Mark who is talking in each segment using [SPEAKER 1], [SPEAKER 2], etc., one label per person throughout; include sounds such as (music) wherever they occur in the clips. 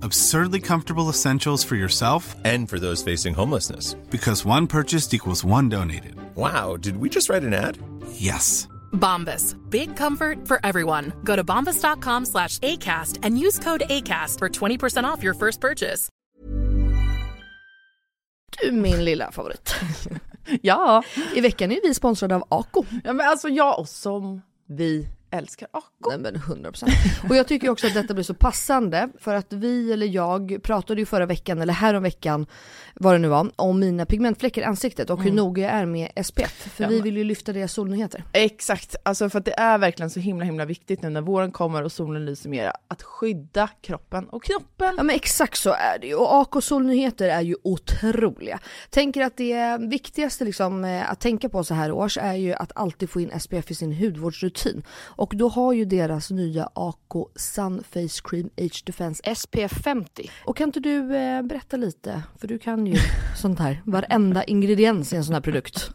[SPEAKER 1] Absurdly comfortable essentials for yourself
[SPEAKER 2] And for those facing homelessness.
[SPEAKER 1] because one purchased equals one donated.
[SPEAKER 2] Wow, did we just write an ad?
[SPEAKER 1] Yes.
[SPEAKER 3] Bombas. Big comfort for everyone. Go to bombas.com slash ACAST and use code ACAST for 20% off your first purchase.
[SPEAKER 4] Du min lilla favorit.
[SPEAKER 5] (laughs) Ja,
[SPEAKER 4] I veckan är vi sponsrade av Ako.
[SPEAKER 5] ja men alltså jag och som vi älskar Ako.
[SPEAKER 4] Nej men 100%. Och jag tycker också att detta blir så passande för att vi eller jag pratade ju förra veckan eller häromveckan vad det nu var om mina pigmentfläckar i ansiktet och hur noga jag är med SPF. För
[SPEAKER 5] Mm. Ja,
[SPEAKER 4] vi
[SPEAKER 5] men-
[SPEAKER 4] vill ju lyfta deras solnyheter.
[SPEAKER 5] Exakt, alltså för att det är verkligen så himla himla viktigt nu när våren kommer och solen lyser mera att skydda kroppen och knoppen.
[SPEAKER 4] Ja men exakt så är det ju och AK Solnyheter är ju otroliga. Tänker att det viktigaste liksom eh, att tänka på så här års är ju att alltid få in SPF i sin hudvårdsrutin. Och då har ju deras nya AK Sun Face Cream Age Defense
[SPEAKER 6] SPF 50.
[SPEAKER 4] Och kan inte du eh, berätta lite, för du kan ju sånt här, varenda ingrediens i en sån här produkt.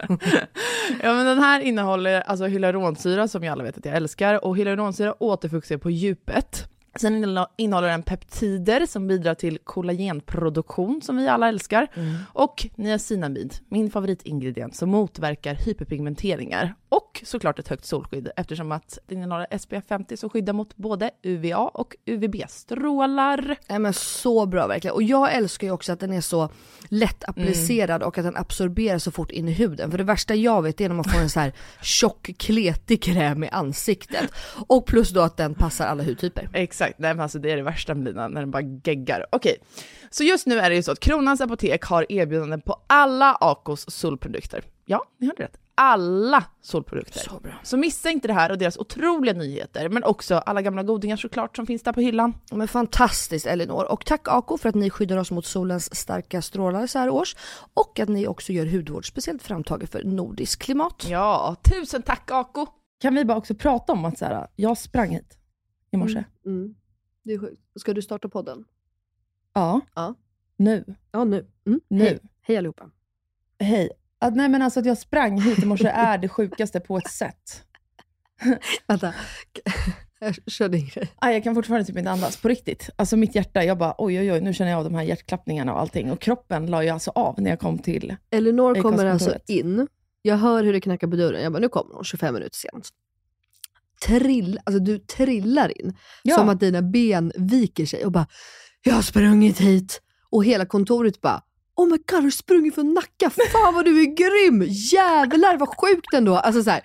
[SPEAKER 5] Ja men den här innehåller alltså hyaluronsyra som ju alla vet att jag älskar och hyaluronsyra återfuktar på djupet. Sen innehå- innehåller den peptider som bidrar till kollagenproduktion som vi alla älskar. Och niacinamid, min favoritingrediens som motverkar hyperpigmenteringar. Och såklart ett högt solskydd eftersom att den innehåller SPF 50 som skyddar mot både UVA och UVB-strålar.
[SPEAKER 4] Nej men så bra verkligen. Och jag älskar ju också att den är så lätt applicerad och att den absorberas så fort in i huden. För det värsta jag vet är när man får en så här tjock kletig kräm i ansiktet. Och plus då att den passar alla hudtyper.
[SPEAKER 5] Exakt, nej men alltså det är det värsta med lina, när den bara geggar. Okej, så just nu är det ju så att Kronans Apotek har erbjudanden på alla Acos solprodukter. Ja, ni hörde rätt. Alla solprodukter. Så, bra. så missa inte det här och deras otroliga nyheter, men också alla gamla godingar såklart som finns där på hyllan.
[SPEAKER 4] Men fantastiskt Elinor. Och tack Ako för att ni skyddar oss mot solens starka strålar så här års. Och att ni också gör hudvård speciellt framtagen för nordiskt klimat.
[SPEAKER 5] Ja, tusen tack Ako! Kan vi bara också prata om att så här, jag sprang hit i morse?
[SPEAKER 7] Mm. Det är sjukt. Ska du starta podden?
[SPEAKER 5] Ja.
[SPEAKER 7] Ja.
[SPEAKER 5] Nu.
[SPEAKER 7] Ja, nu. Mm.
[SPEAKER 5] Nu.
[SPEAKER 7] Hej. Hej allihopa.
[SPEAKER 5] Hej. Att, nej men alltså att jag sprang hit i morse
[SPEAKER 7] (laughs)
[SPEAKER 5] är det sjukaste på ett sätt.
[SPEAKER 7] Vänta. Jag kör din grej.
[SPEAKER 5] Aj, jag kan fortfarande typ inte andas, på riktigt. Alltså mitt hjärta, jag bara oj oj oj, nu känner jag av de här hjärtklappningarna och allting. Och kroppen la ju alltså av när jag kom till.
[SPEAKER 7] Elinor
[SPEAKER 5] I
[SPEAKER 7] kommer alltså
[SPEAKER 5] konstkontoret.
[SPEAKER 7] in. Jag hör hur det knackar på dörren. Jag bara, nu kommer hon 25 minuter sent. Trill, alltså du trillar in.
[SPEAKER 5] Ja.
[SPEAKER 7] Som att dina ben viker sig och bara, jag har sprungit hit. Och hela kontoret bara, oh my god, har du sprungit från Nacka? Fan vad du är grym! Jävlar vad sjukt ändå. Alltså så här,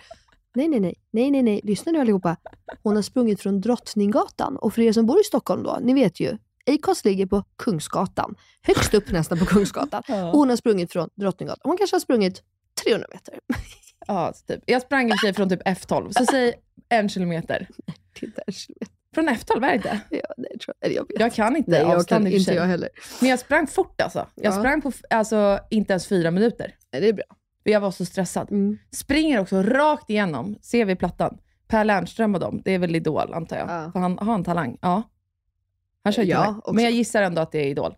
[SPEAKER 7] nej, nej, nej, nej, nej, nej, lyssna nu allihopa. Hon har sprungit från Drottninggatan. Och för er som bor i Stockholm då, ni vet ju, Acast ligger på Kungsgatan. Högst upp nästan på Kungsgatan.
[SPEAKER 5] Ja.
[SPEAKER 7] Och hon har sprungit från Drottninggatan. Hon kanske har sprungit 300 meter. (laughs)
[SPEAKER 5] Ja, typ. Jag sprang i och för sig från typ F12, så säg
[SPEAKER 7] (laughs)
[SPEAKER 5] en kilometer.
[SPEAKER 7] Det är inte en kilometer.
[SPEAKER 5] Från F12, är det inte?
[SPEAKER 7] Ja, nej, tror jag. Eller jag vet.
[SPEAKER 5] Jag kan inte
[SPEAKER 7] nej, jag
[SPEAKER 5] avstånd
[SPEAKER 7] kan
[SPEAKER 5] i och för
[SPEAKER 7] inte
[SPEAKER 5] sig.
[SPEAKER 7] jag heller.
[SPEAKER 5] Men jag sprang fort alltså. Jag
[SPEAKER 7] Ja.
[SPEAKER 5] sprang på f- alltså, inte ens fyra minuter.
[SPEAKER 7] Nej, det är bra.
[SPEAKER 5] För Jag var så stressad.
[SPEAKER 7] Mm.
[SPEAKER 5] Springer också rakt igenom, ser vi plattan. Per Lernström och dem, det är väl Idol antar jag.
[SPEAKER 7] Ja.
[SPEAKER 5] För han har en talang. Ja. Han kör ju
[SPEAKER 7] Ja,
[SPEAKER 5] talang.
[SPEAKER 7] också.
[SPEAKER 5] Men jag gissar ändå att det är Idol.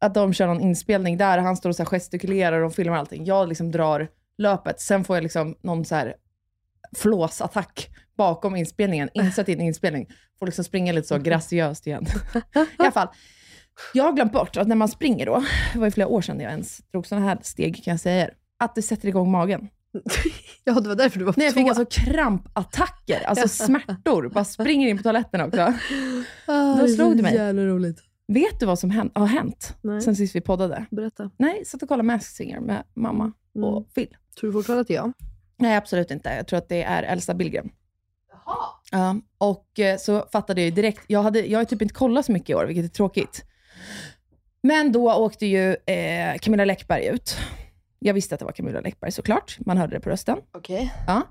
[SPEAKER 5] Att de kör någon inspelning där, han står och så här gestikulerar och de filmar allting. Jag liksom drar löpet, sen får jag liksom någon så här flåsattack
[SPEAKER 7] (laughs)
[SPEAKER 5] bakom inspelningen, insett i en inspelning. Får liksom springa lite så graciöst igen. I alla fall. Jag har glömt bort att när man springer då, det var ju flera år sedan jag ens drog sådana här steg kan jag säga er, att det sätter igång magen.
[SPEAKER 4] Ja, det var därför du var på
[SPEAKER 5] Nej, jag fick
[SPEAKER 4] toa.
[SPEAKER 5] alltså krampattacker,
[SPEAKER 4] (laughs)
[SPEAKER 5] alltså smärtor. Bara springer in på toaletten också.
[SPEAKER 4] Ah,
[SPEAKER 5] då
[SPEAKER 4] det är så
[SPEAKER 5] slog det mig.
[SPEAKER 4] Jävla roligt.
[SPEAKER 5] Vet du vad som hänt, har hänt
[SPEAKER 4] Nej.
[SPEAKER 5] sen sist vi poddade?
[SPEAKER 4] Berätta.
[SPEAKER 5] Nej, satt och kollade Masked Singer med mamma
[SPEAKER 4] Mm.
[SPEAKER 5] och Phil.
[SPEAKER 4] Tror du fortfarande att det är jag?
[SPEAKER 5] Nej, absolut inte. Jag tror att det är Elsa Billgren. Jaha. Ja, och eh, så fattade jag ju direkt. Jag, hade, jag har ju typ inte kollat så mycket i år, vilket är tråkigt. Men då åkte ju eh, Camilla Läckberg ut. Jag visste att det var Camilla Läckberg såklart. Man hörde det på rösten.
[SPEAKER 4] Okej.
[SPEAKER 5] Ja.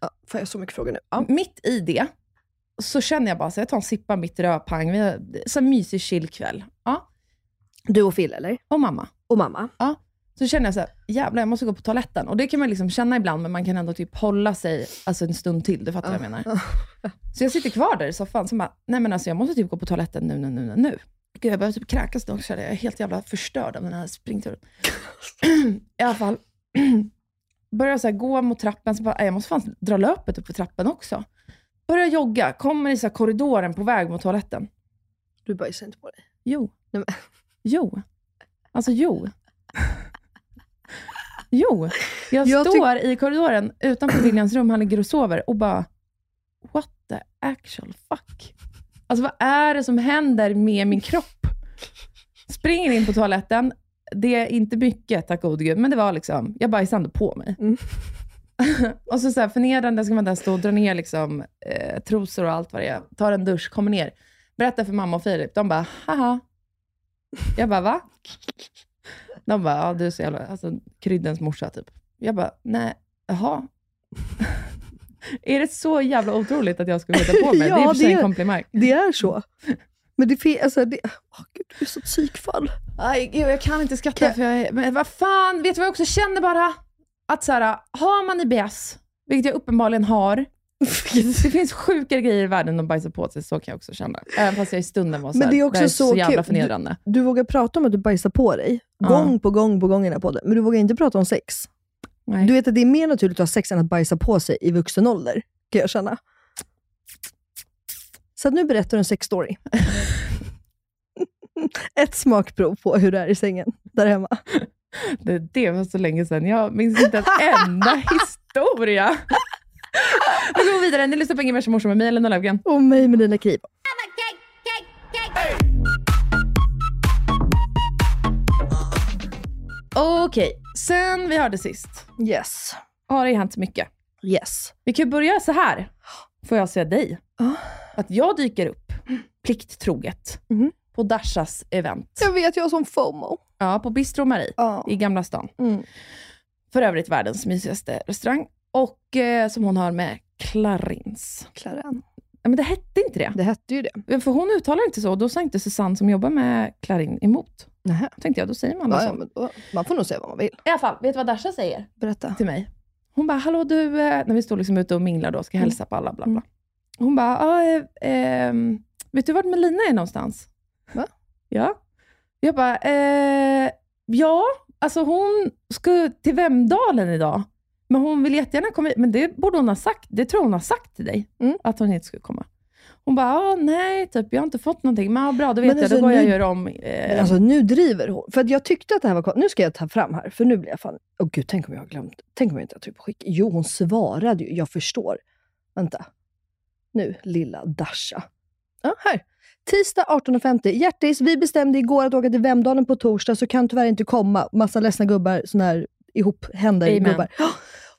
[SPEAKER 4] Ja, får jag så mycket frågor nu?
[SPEAKER 5] Mitt i det så känner jag bara så jag tar en sippa av mitt rödpang. Vi har så här mysig chill kväll. Ja.
[SPEAKER 4] Du och Phil eller?
[SPEAKER 5] Och mamma.
[SPEAKER 4] Och mamma?
[SPEAKER 5] Så känner jag så här, jävlar jag måste gå på toaletten. Och det kan man liksom känna ibland, men man kan ändå typ hålla sig alltså en stund till. Du fattar vad jag menar. Så jag sitter kvar där i soffan, så bara, nej men alltså jag måste typ gå på toaletten nu, nu, nu, nu, nu. Gud, jag börjar typ kräkas nu också. Jag är helt jävla förstörd av den här springturen. I alla fall, börjar så här gå mot trappen, så bara, "Nej, jag måste fan dra löpet upp för trappen också. Börjar jogga, kommer i så här korridoren på väg mot toaletten.
[SPEAKER 4] Du bajsar inte på dig.
[SPEAKER 5] Jo.
[SPEAKER 4] Nej, men-
[SPEAKER 5] Jo. Alltså jo. Jo. Jag,
[SPEAKER 4] Jag tyck-
[SPEAKER 5] står i korridoren utanför Williams rum, han ligger och sover och bara, what the actual fuck? Alltså vad är det som händer med min kropp? Springer in på toaletten. Det är inte mycket, tack gode gud, men det var liksom, jag bajsade ändå på mig.
[SPEAKER 4] Mm.
[SPEAKER 5] (laughs) och så, så här, förnedrande ska man där stå och dra ner liksom, eh, trosor och allt vad det är. Tar en dusch, kommer ner. Berättar för mamma och Filip. De bara, haha. Jag bara, va? De bara, ja du är så jävla, alltså kryddens morsa typ. Jag bara, nej, jaha. (laughs) är det så jävla otroligt att jag skulle hitta på mig?
[SPEAKER 4] Ja,
[SPEAKER 5] det är i och för sig
[SPEAKER 4] det-
[SPEAKER 5] en komplimang.
[SPEAKER 4] Det är så. Men det finns... Alltså, det... Åh, gud, du är så ett psykfall.
[SPEAKER 5] Aj, gud, jag kan inte skratta.
[SPEAKER 4] Kan-
[SPEAKER 5] För jag, är- men vad fan, vet du vad jag också känner bara? Att så här, har man IBS, vilket jag
[SPEAKER 4] (laughs)
[SPEAKER 5] uppenbarligen har, det finns sjukare grejer i världen än att bajsa på sig, så kan jag också känna. Även fast jag i stunden var så
[SPEAKER 4] Men
[SPEAKER 5] här,
[SPEAKER 4] det är också
[SPEAKER 5] här
[SPEAKER 4] så
[SPEAKER 5] jävla
[SPEAKER 4] kul.
[SPEAKER 5] förnedrande.
[SPEAKER 4] Du vågar prata om att du bajsar på dig,
[SPEAKER 5] Ja.
[SPEAKER 4] gång på gång på gång i den här podden, men du vågar inte prata om sex.
[SPEAKER 5] Nej.
[SPEAKER 4] Du vet att det är mer naturligt att ha sex än att bajsa på sig i vuxen ålder, kan jag känna. Så att nu berättar du en sexstory. (laughs) Ett smakprov på hur det är i sängen där hemma.
[SPEAKER 5] Det, det var så länge sedan, jag minns
[SPEAKER 4] (laughs)
[SPEAKER 5] inte en enda historia. Vi går vidare, ni lyssnar på Ingen värsta morsa med mig, Elina Löfgren.
[SPEAKER 4] Och mig med dina knivor.
[SPEAKER 5] Okej, sen vi hörde sist
[SPEAKER 4] Yes.
[SPEAKER 5] har det hänt mycket.
[SPEAKER 4] Yes.
[SPEAKER 5] Vi kan ju börja så här. Får jag säga dig?
[SPEAKER 4] Ja. Mm.
[SPEAKER 5] Att jag dyker upp plikttroget
[SPEAKER 4] Mhm.
[SPEAKER 5] på Dashas event.
[SPEAKER 4] Jag vet, jag har sån FOMO.
[SPEAKER 5] Ja, på Bistro Marie
[SPEAKER 4] Ja.
[SPEAKER 5] i Gamla stan.
[SPEAKER 4] Mm.
[SPEAKER 5] För övrigt världens mysigaste restaurang. Och eh, som hon har med Clarins.
[SPEAKER 4] Claren.
[SPEAKER 5] Ja, men det hette inte det.
[SPEAKER 4] Det hette ju det.
[SPEAKER 5] För hon uttalar inte så. och Då sa inte Susanne som jobbar med Clarin emot.
[SPEAKER 4] Nähä.
[SPEAKER 5] Tänkte jag, då säger man
[SPEAKER 4] Ja,
[SPEAKER 5] bara
[SPEAKER 4] ja,
[SPEAKER 5] så.
[SPEAKER 4] men då, man får nog säga vad man vill.
[SPEAKER 5] I alla fall, vet du vad Dasha säger?
[SPEAKER 4] Berätta.
[SPEAKER 5] till mig. Hon bara, hallå du, eh, när vi står liksom ute och minglar då, ska hälsa på alla, bla
[SPEAKER 4] Mm.
[SPEAKER 5] bla. Hon bara, ah, eh, ehm, vet du vart Melina är någonstans?
[SPEAKER 4] Va?
[SPEAKER 5] Ja. Jag bara, eh, ja, alltså hon ska till Vemdalen idag. Men hon vill jättegärna komma hit. Men det borde hon ha sagt. Det tror jag hon har sagt till dig.
[SPEAKER 4] Mm.
[SPEAKER 5] Att hon inte skulle komma. Hon bara, ah, nej, typ, jag har inte fått någonting. Men ah, bra, då vet
[SPEAKER 4] Men
[SPEAKER 5] jag.
[SPEAKER 4] alltså,
[SPEAKER 5] Då går jag och
[SPEAKER 4] nu-
[SPEAKER 5] gör om.
[SPEAKER 4] Men
[SPEAKER 5] Eh,
[SPEAKER 4] alltså nu driver hon. För att jag tyckte att det här var kon- Nu ska jag ta fram här, för nu blir jag fan... Åh gud, tänk om jag har glömt. Tänk om jag inte har tryckt på skick. Jo, hon svarade ju. Jag förstår. Vänta. Nu, lilla Dasha. Ja, här. Tisdag 18.50. Hjärtis, vi bestämde igår att åka till Vemdalen på torsdag, så kan tyvärr inte komma. Massa ledsna gubbar, sån här ihophänder
[SPEAKER 5] Amen.
[SPEAKER 4] gubbar. Ja,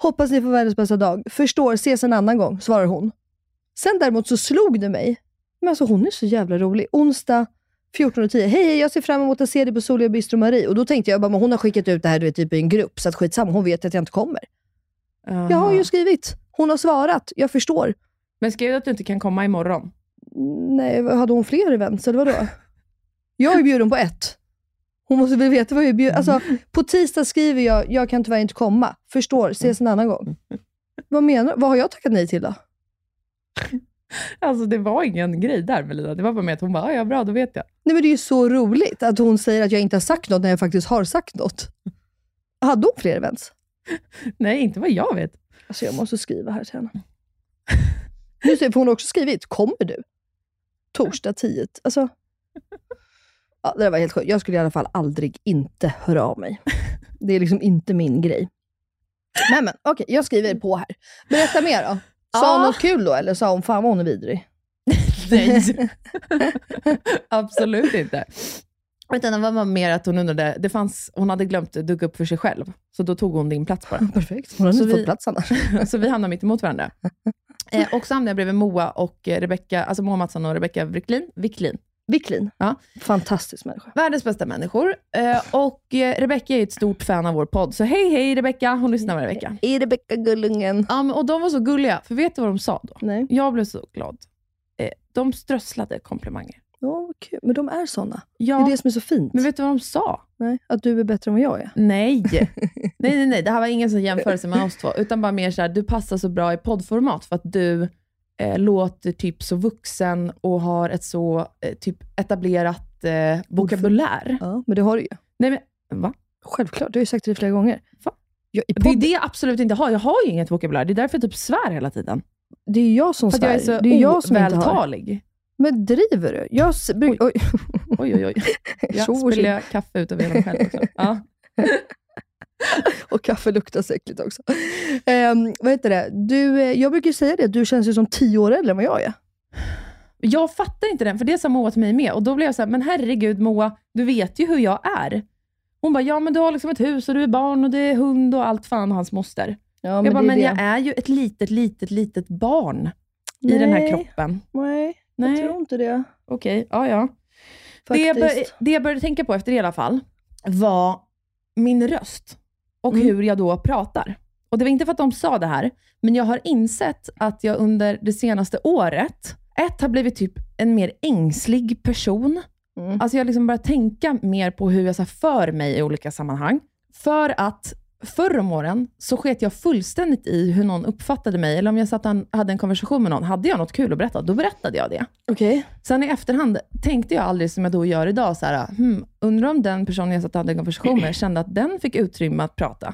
[SPEAKER 4] Hoppas ni får världens bästa dag. Förstår, ses en annan gång, svarar hon. Sen däremot så slog det mig. Men alltså hon är så jävla rolig. Onsdag 14.10. Hej, hej, jag ser fram emot att se dig på Soliga Bistro Marie. Och då tänkte jag bara, men hon har skickat ut det här du vet, typ i en grupp, så att skitsamma, hon vet att jag inte kommer. Jag har ju skrivit. Hon har svarat. Jag förstår.
[SPEAKER 5] Men skriv att du inte kan komma imorgon.
[SPEAKER 4] Nej, vad- hade hon fler events eller vadå? Jag är bjuden på ett. Hon måste väl veta vad jag är bjuden Alltså, på tisdag skriver jag, jag kan tyvärr inte komma. Förstår, ses en annan gång. Vad menar Vad har jag tackat nej till då?
[SPEAKER 5] Alltså det var ingen grej där Melina. Det var bara med att hon bara, "Ah, ja bra, då vet jag.
[SPEAKER 4] Nej, men det är ju så roligt att hon säger att jag inte har sagt något när jag faktiskt har sagt något. Hade hon fler events?
[SPEAKER 5] Nej, inte vad
[SPEAKER 4] (laughs)
[SPEAKER 5] jag vet.
[SPEAKER 4] Alltså jag måste skriva här till henne.
[SPEAKER 5] Mm.
[SPEAKER 4] (laughs)
[SPEAKER 5] (laughs)
[SPEAKER 4] Just det, för hon har också skrivit, kommer du? Torsdag 10. Alltså, Ja, det där var helt sjukt. Jag skulle i alla fall aldrig inte höra av
[SPEAKER 5] (laughs)
[SPEAKER 4] mig. Det är liksom inte min grej. Men, men okej, jag skriver på här. Berätta mer då. Sa hon
[SPEAKER 5] Ja.
[SPEAKER 4] något kul då, eller sa hon fan vad hon är vidrig?
[SPEAKER 5] Nej, (laughs) absolut inte. Utan det var mer att hon undrade, det fanns, hon hade glömt dugga upp för sig själv, så då tog hon din plats bara.
[SPEAKER 4] (laughs) Perfekt. Hon har
[SPEAKER 5] Så
[SPEAKER 4] inte
[SPEAKER 5] vi-
[SPEAKER 4] fått plats annars.
[SPEAKER 5] (laughs) så vi hamnade mitt
[SPEAKER 4] (laughs)
[SPEAKER 5] emot varandra. Eh, och så hamnade jag bredvid Moa och eh, Rebecka, alltså Moa Mattsson och Rebecka Wiklin. Wiklin.
[SPEAKER 4] Wiklin.
[SPEAKER 5] Ja.
[SPEAKER 4] Fantastisk människa.
[SPEAKER 5] Världens bästa människor. Eh, och eh, Rebecka är ett stort fan av vår podd, så hej hej Rebecka, hon lyssnar varje vecka.
[SPEAKER 4] Är Rebecka Eh, Gullungen?
[SPEAKER 5] Ja, men, och de var så gulliga, för vet du vad de sa då?
[SPEAKER 4] Nej.
[SPEAKER 5] Jag blev så glad. Eh, de strösslade komplimanger.
[SPEAKER 4] Ja, vad kul. Men de är såna.
[SPEAKER 5] Ja,
[SPEAKER 4] Det är det som är så fint.
[SPEAKER 5] men vet du vad de sa?
[SPEAKER 4] Nej, att du är bättre än vad jag är.
[SPEAKER 5] (laughs) Nej. nej, nej, nej. Det här var ingen sån jämförelse med oss två, utan bara mer så här, du passar så bra i poddformat för att du eh, låter typ så vuxen och har ett så eh, typ etablerat eh, vokabulär.
[SPEAKER 4] Ja, men det har du ju.
[SPEAKER 5] Nej, men, va?
[SPEAKER 4] Självklart, du har ju sagt det flera gånger.
[SPEAKER 5] Va?
[SPEAKER 4] Jag, i
[SPEAKER 5] Det är
[SPEAKER 4] podden,
[SPEAKER 5] det jag absolut inte har. Jag har ju inget vokabulär. Det är därför jag typ svär hela tiden.
[SPEAKER 4] det är ju jag som
[SPEAKER 5] För att jag är
[SPEAKER 4] svär.
[SPEAKER 5] så
[SPEAKER 4] det är ju jag som inte har.
[SPEAKER 5] ovältalig.
[SPEAKER 4] Men driver du? Jag s- bruk, oj. (laughs)
[SPEAKER 5] Oj, (laughs) oj, oj.
[SPEAKER 4] Tjo
[SPEAKER 5] Jag
[SPEAKER 4] och tjim.
[SPEAKER 5] spiller kaffe ut över hela mig själv också. Ja.
[SPEAKER 4] Och kaffe luktar så äckligt också. Ehm, vad heter det? Du, eh, jag brukar ju säga det, du känns ju som tio år äldre än vad jag är.
[SPEAKER 5] Jag fattar inte den, för det sa Moa till mig med. Och då blev jag så här, men herregud Moa, du vet ju hur jag är. Hon bara, ja men du har liksom ett hus och du är barn och det är hund och allt fan och hans moster.
[SPEAKER 4] Ja,
[SPEAKER 5] jag bara, men jag är ju ett litet, litet, litet barn
[SPEAKER 4] Nej,
[SPEAKER 5] i den här kroppen.
[SPEAKER 4] Nej, jag
[SPEAKER 5] Nej,
[SPEAKER 4] tror inte det.
[SPEAKER 5] okej, ja ja. Det jag,
[SPEAKER 4] Faktiskt.
[SPEAKER 5] bör, det jag började tänka på efter det i alla fall var min röst och
[SPEAKER 4] Mm.
[SPEAKER 5] hur jag då pratar. Och Det var inte för att de sa det här, men jag har insett att jag under det senaste året, ett, har blivit typ en mer ängslig person.
[SPEAKER 4] Mm.
[SPEAKER 5] Alltså Jag har liksom börjat tänka mer på hur jag så här för mig i olika sammanhang. För att förr om åren så sket jag fullständigt i hur någon uppfattade mig, eller om jag satt och an- hade en konversation med någon. Hade jag något kul att berätta, då berättade jag det.
[SPEAKER 4] Okej.
[SPEAKER 5] Sen i efterhand tänkte jag aldrig som jag då gör idag, så här, hmm, undrar om den personen jag satt och hade en konversation med kände att den fick utrymme att prata.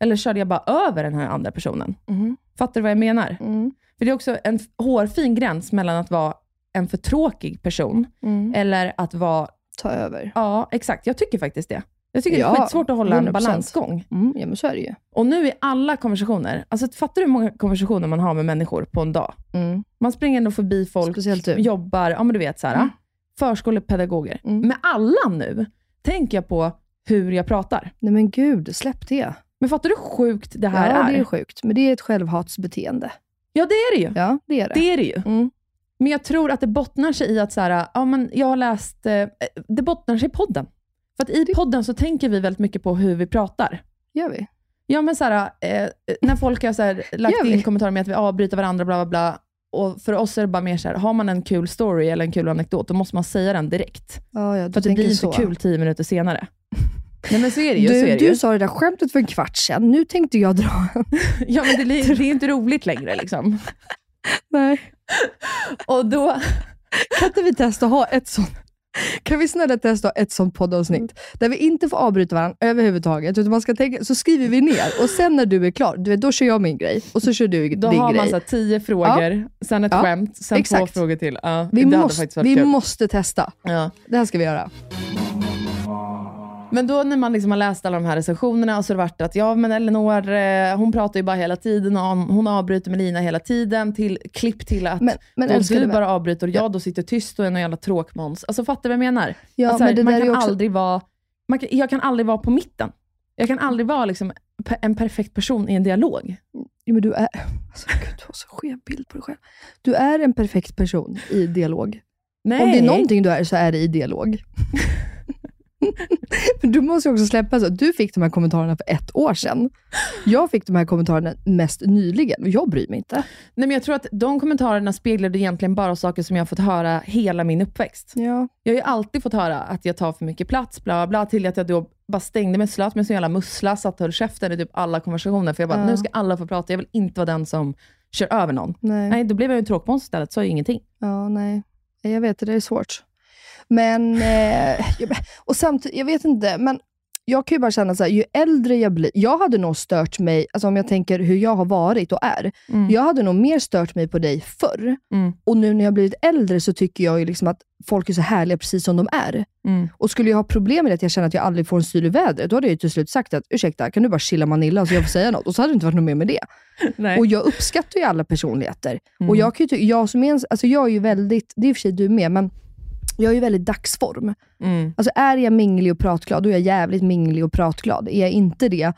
[SPEAKER 5] Eller körde jag bara över den här andra personen?
[SPEAKER 4] Mhm.
[SPEAKER 5] Fattar du vad jag menar?
[SPEAKER 4] Mm.
[SPEAKER 5] För det är också en f- hårfin gräns mellan att vara en för tråkig person,
[SPEAKER 4] Mm.
[SPEAKER 5] eller att vara,
[SPEAKER 4] Ta över.
[SPEAKER 5] ja exakt, jag tycker faktiskt det. Jag tycker det
[SPEAKER 4] Ja,
[SPEAKER 5] är skitsvårt att hålla en
[SPEAKER 4] 100%.
[SPEAKER 5] balansgång.
[SPEAKER 4] Mm, ja, men så är det ju.
[SPEAKER 5] Och nu i alla konversationer, alltså fattar du hur många konversationer man har med människor på en dag?
[SPEAKER 4] Mm.
[SPEAKER 5] Man springer ändå förbi folk,
[SPEAKER 4] Speciellt du.
[SPEAKER 5] jobbar, ja men du vet så här,
[SPEAKER 4] Mm.
[SPEAKER 5] förskolepedagoger.
[SPEAKER 4] Mm.
[SPEAKER 5] Med alla nu tänker jag på hur jag pratar.
[SPEAKER 4] Nej men gud, släpp det.
[SPEAKER 5] Men fattar du hur sjukt det här
[SPEAKER 4] ja,
[SPEAKER 5] är?
[SPEAKER 4] det är sjukt. Men det är ett självhatsbeteende.
[SPEAKER 5] Ja, det är det ju.
[SPEAKER 4] Ja, det är det.
[SPEAKER 5] Det är det ju.
[SPEAKER 4] Mm.
[SPEAKER 5] Men jag tror att det bottnar sig i att så här, ja, men jag har läst, eh, det bottnar sig i podden. För att i podden så tänker vi väldigt mycket på hur vi pratar.
[SPEAKER 4] Gör vi?
[SPEAKER 5] Ja, men så här, eh, när folk har så här, lagt
[SPEAKER 4] Gör vi?
[SPEAKER 5] in kommentarer med att vi avbryter varandra, bla bla bla. Och för oss är det bara mer så här, har man en kul story eller en kul anekdot, då måste man säga den direkt.
[SPEAKER 4] Ja, ja, du
[SPEAKER 5] För att det
[SPEAKER 4] tänker
[SPEAKER 5] blir
[SPEAKER 4] så.
[SPEAKER 5] inte kul tio minuter senare. Nej men så är det ju. så
[SPEAKER 4] Du,
[SPEAKER 5] är det ju.
[SPEAKER 4] du sa det där skämtet för en kvart sedan. Nu tänkte jag dra
[SPEAKER 5] (laughs)
[SPEAKER 4] en.
[SPEAKER 5] Ja, men det, li- det är (laughs) inte roligt längre liksom.
[SPEAKER 4] Nej.
[SPEAKER 5] Och då,
[SPEAKER 4] Kan inte vi testa att ha ett sånt? Kan vi snälla testa att ha ett sånt
[SPEAKER 5] Mm.
[SPEAKER 4] poddavsnitt? Där vi inte får avbryta varandra överhuvudtaget. Utan man ska tänka, så skriver vi ner och sen när du är klar, du vet, då kör jag min grej och så kör du
[SPEAKER 5] då
[SPEAKER 4] din
[SPEAKER 5] har man
[SPEAKER 4] grej.
[SPEAKER 5] så här, tio frågor, sen ett
[SPEAKER 4] Ja.
[SPEAKER 5] skämt, sen
[SPEAKER 4] Exakt.
[SPEAKER 5] två frågor till. Ja,
[SPEAKER 4] vi
[SPEAKER 5] det hade
[SPEAKER 4] måste,
[SPEAKER 5] faktiskt varit
[SPEAKER 4] vi
[SPEAKER 5] kul.
[SPEAKER 4] måste testa.
[SPEAKER 5] ja.
[SPEAKER 4] Det här ska vi göra.
[SPEAKER 5] Men då när man liksom har läst alla de här recensionerna och så har det varit att ja, men Elinor, eh, hon pratar ju bara hela tiden och hon- hon avbryter med Lina hela tiden. Till, klipp till att
[SPEAKER 4] Men- men
[SPEAKER 5] då
[SPEAKER 4] älskade
[SPEAKER 5] du
[SPEAKER 4] vän.
[SPEAKER 5] bara avbryter och jag då sitter tyst och är någon jävla tråkmåns. Alltså fattar du vad jag menar?
[SPEAKER 4] Ja,
[SPEAKER 5] att, så här,
[SPEAKER 4] men det
[SPEAKER 5] man
[SPEAKER 4] där är
[SPEAKER 5] kan
[SPEAKER 4] ju också-
[SPEAKER 5] aldrig vara, man kan, jag kan aldrig vara på mitten. Jag kan aldrig vara liksom pe- en perfekt person i en dialog.
[SPEAKER 4] Jo, men du är... Alltså, gud, du har så skev bild på dig själv. Du är en perfekt person i dialog.
[SPEAKER 5] Nej.
[SPEAKER 4] Om det är någonting du är så är det i dialog. (laughs) Men du måste ju också släppa så. Du fick de här kommentarerna för ett år sedan. Jag fick de här kommentarerna mest nyligen och jag bryr mig inte.
[SPEAKER 5] Nej, men jag tror att de kommentarerna speglade egentligen bara saker som jag har fått höra hela min uppväxt.
[SPEAKER 4] Ja.
[SPEAKER 5] Jag har ju alltid fått höra att jag tar för mycket plats, bla bla, bla till att jag då bara stängde mig, slöt mig som en jävla mussla, satt och höll käften i typ alla konversationer. För jag bara,
[SPEAKER 4] Ja.
[SPEAKER 5] nu ska alla få prata, jag vill inte vara den som kör över någon.
[SPEAKER 4] Nej.
[SPEAKER 5] Nej, då blev jag ju en tråkmåns istället, sa ju ingenting.
[SPEAKER 4] Ja, nej. Jag vet, det är svårt. Men, eh, jag- och samtidigt, jag vet inte, men jag kan ju bara känna så här, ju äldre jag blir, jag hade nog stört mig, alltså om jag tänker hur jag har varit och är,
[SPEAKER 5] Mm.
[SPEAKER 4] jag hade nog mer stört mig på dig förr.
[SPEAKER 5] Mm.
[SPEAKER 4] Och nu när jag blivit äldre så tycker jag ju liksom att folk är så härliga precis som de är.
[SPEAKER 5] Mm.
[SPEAKER 4] Och skulle jag ha problem med att jag känner att jag aldrig får en syl i vädret, då hade jag ju till slut sagt att ursäkta, kan du bara chilla Manilla så jag får säga något? Och så hade det inte varit något mer med det.
[SPEAKER 5] (laughs) Nej.
[SPEAKER 4] Och jag uppskattar ju alla personligheter.
[SPEAKER 5] Mm.
[SPEAKER 4] Och jag, kan ju ty- jag, som är en, alltså jag är ju väldigt, det är i och för sig du med, men jag är ju väldigt dagsform.
[SPEAKER 5] Mm.
[SPEAKER 4] Alltså är jag minglig och pratglad, då är jag jävligt minglig och pratglad. Är jag inte det,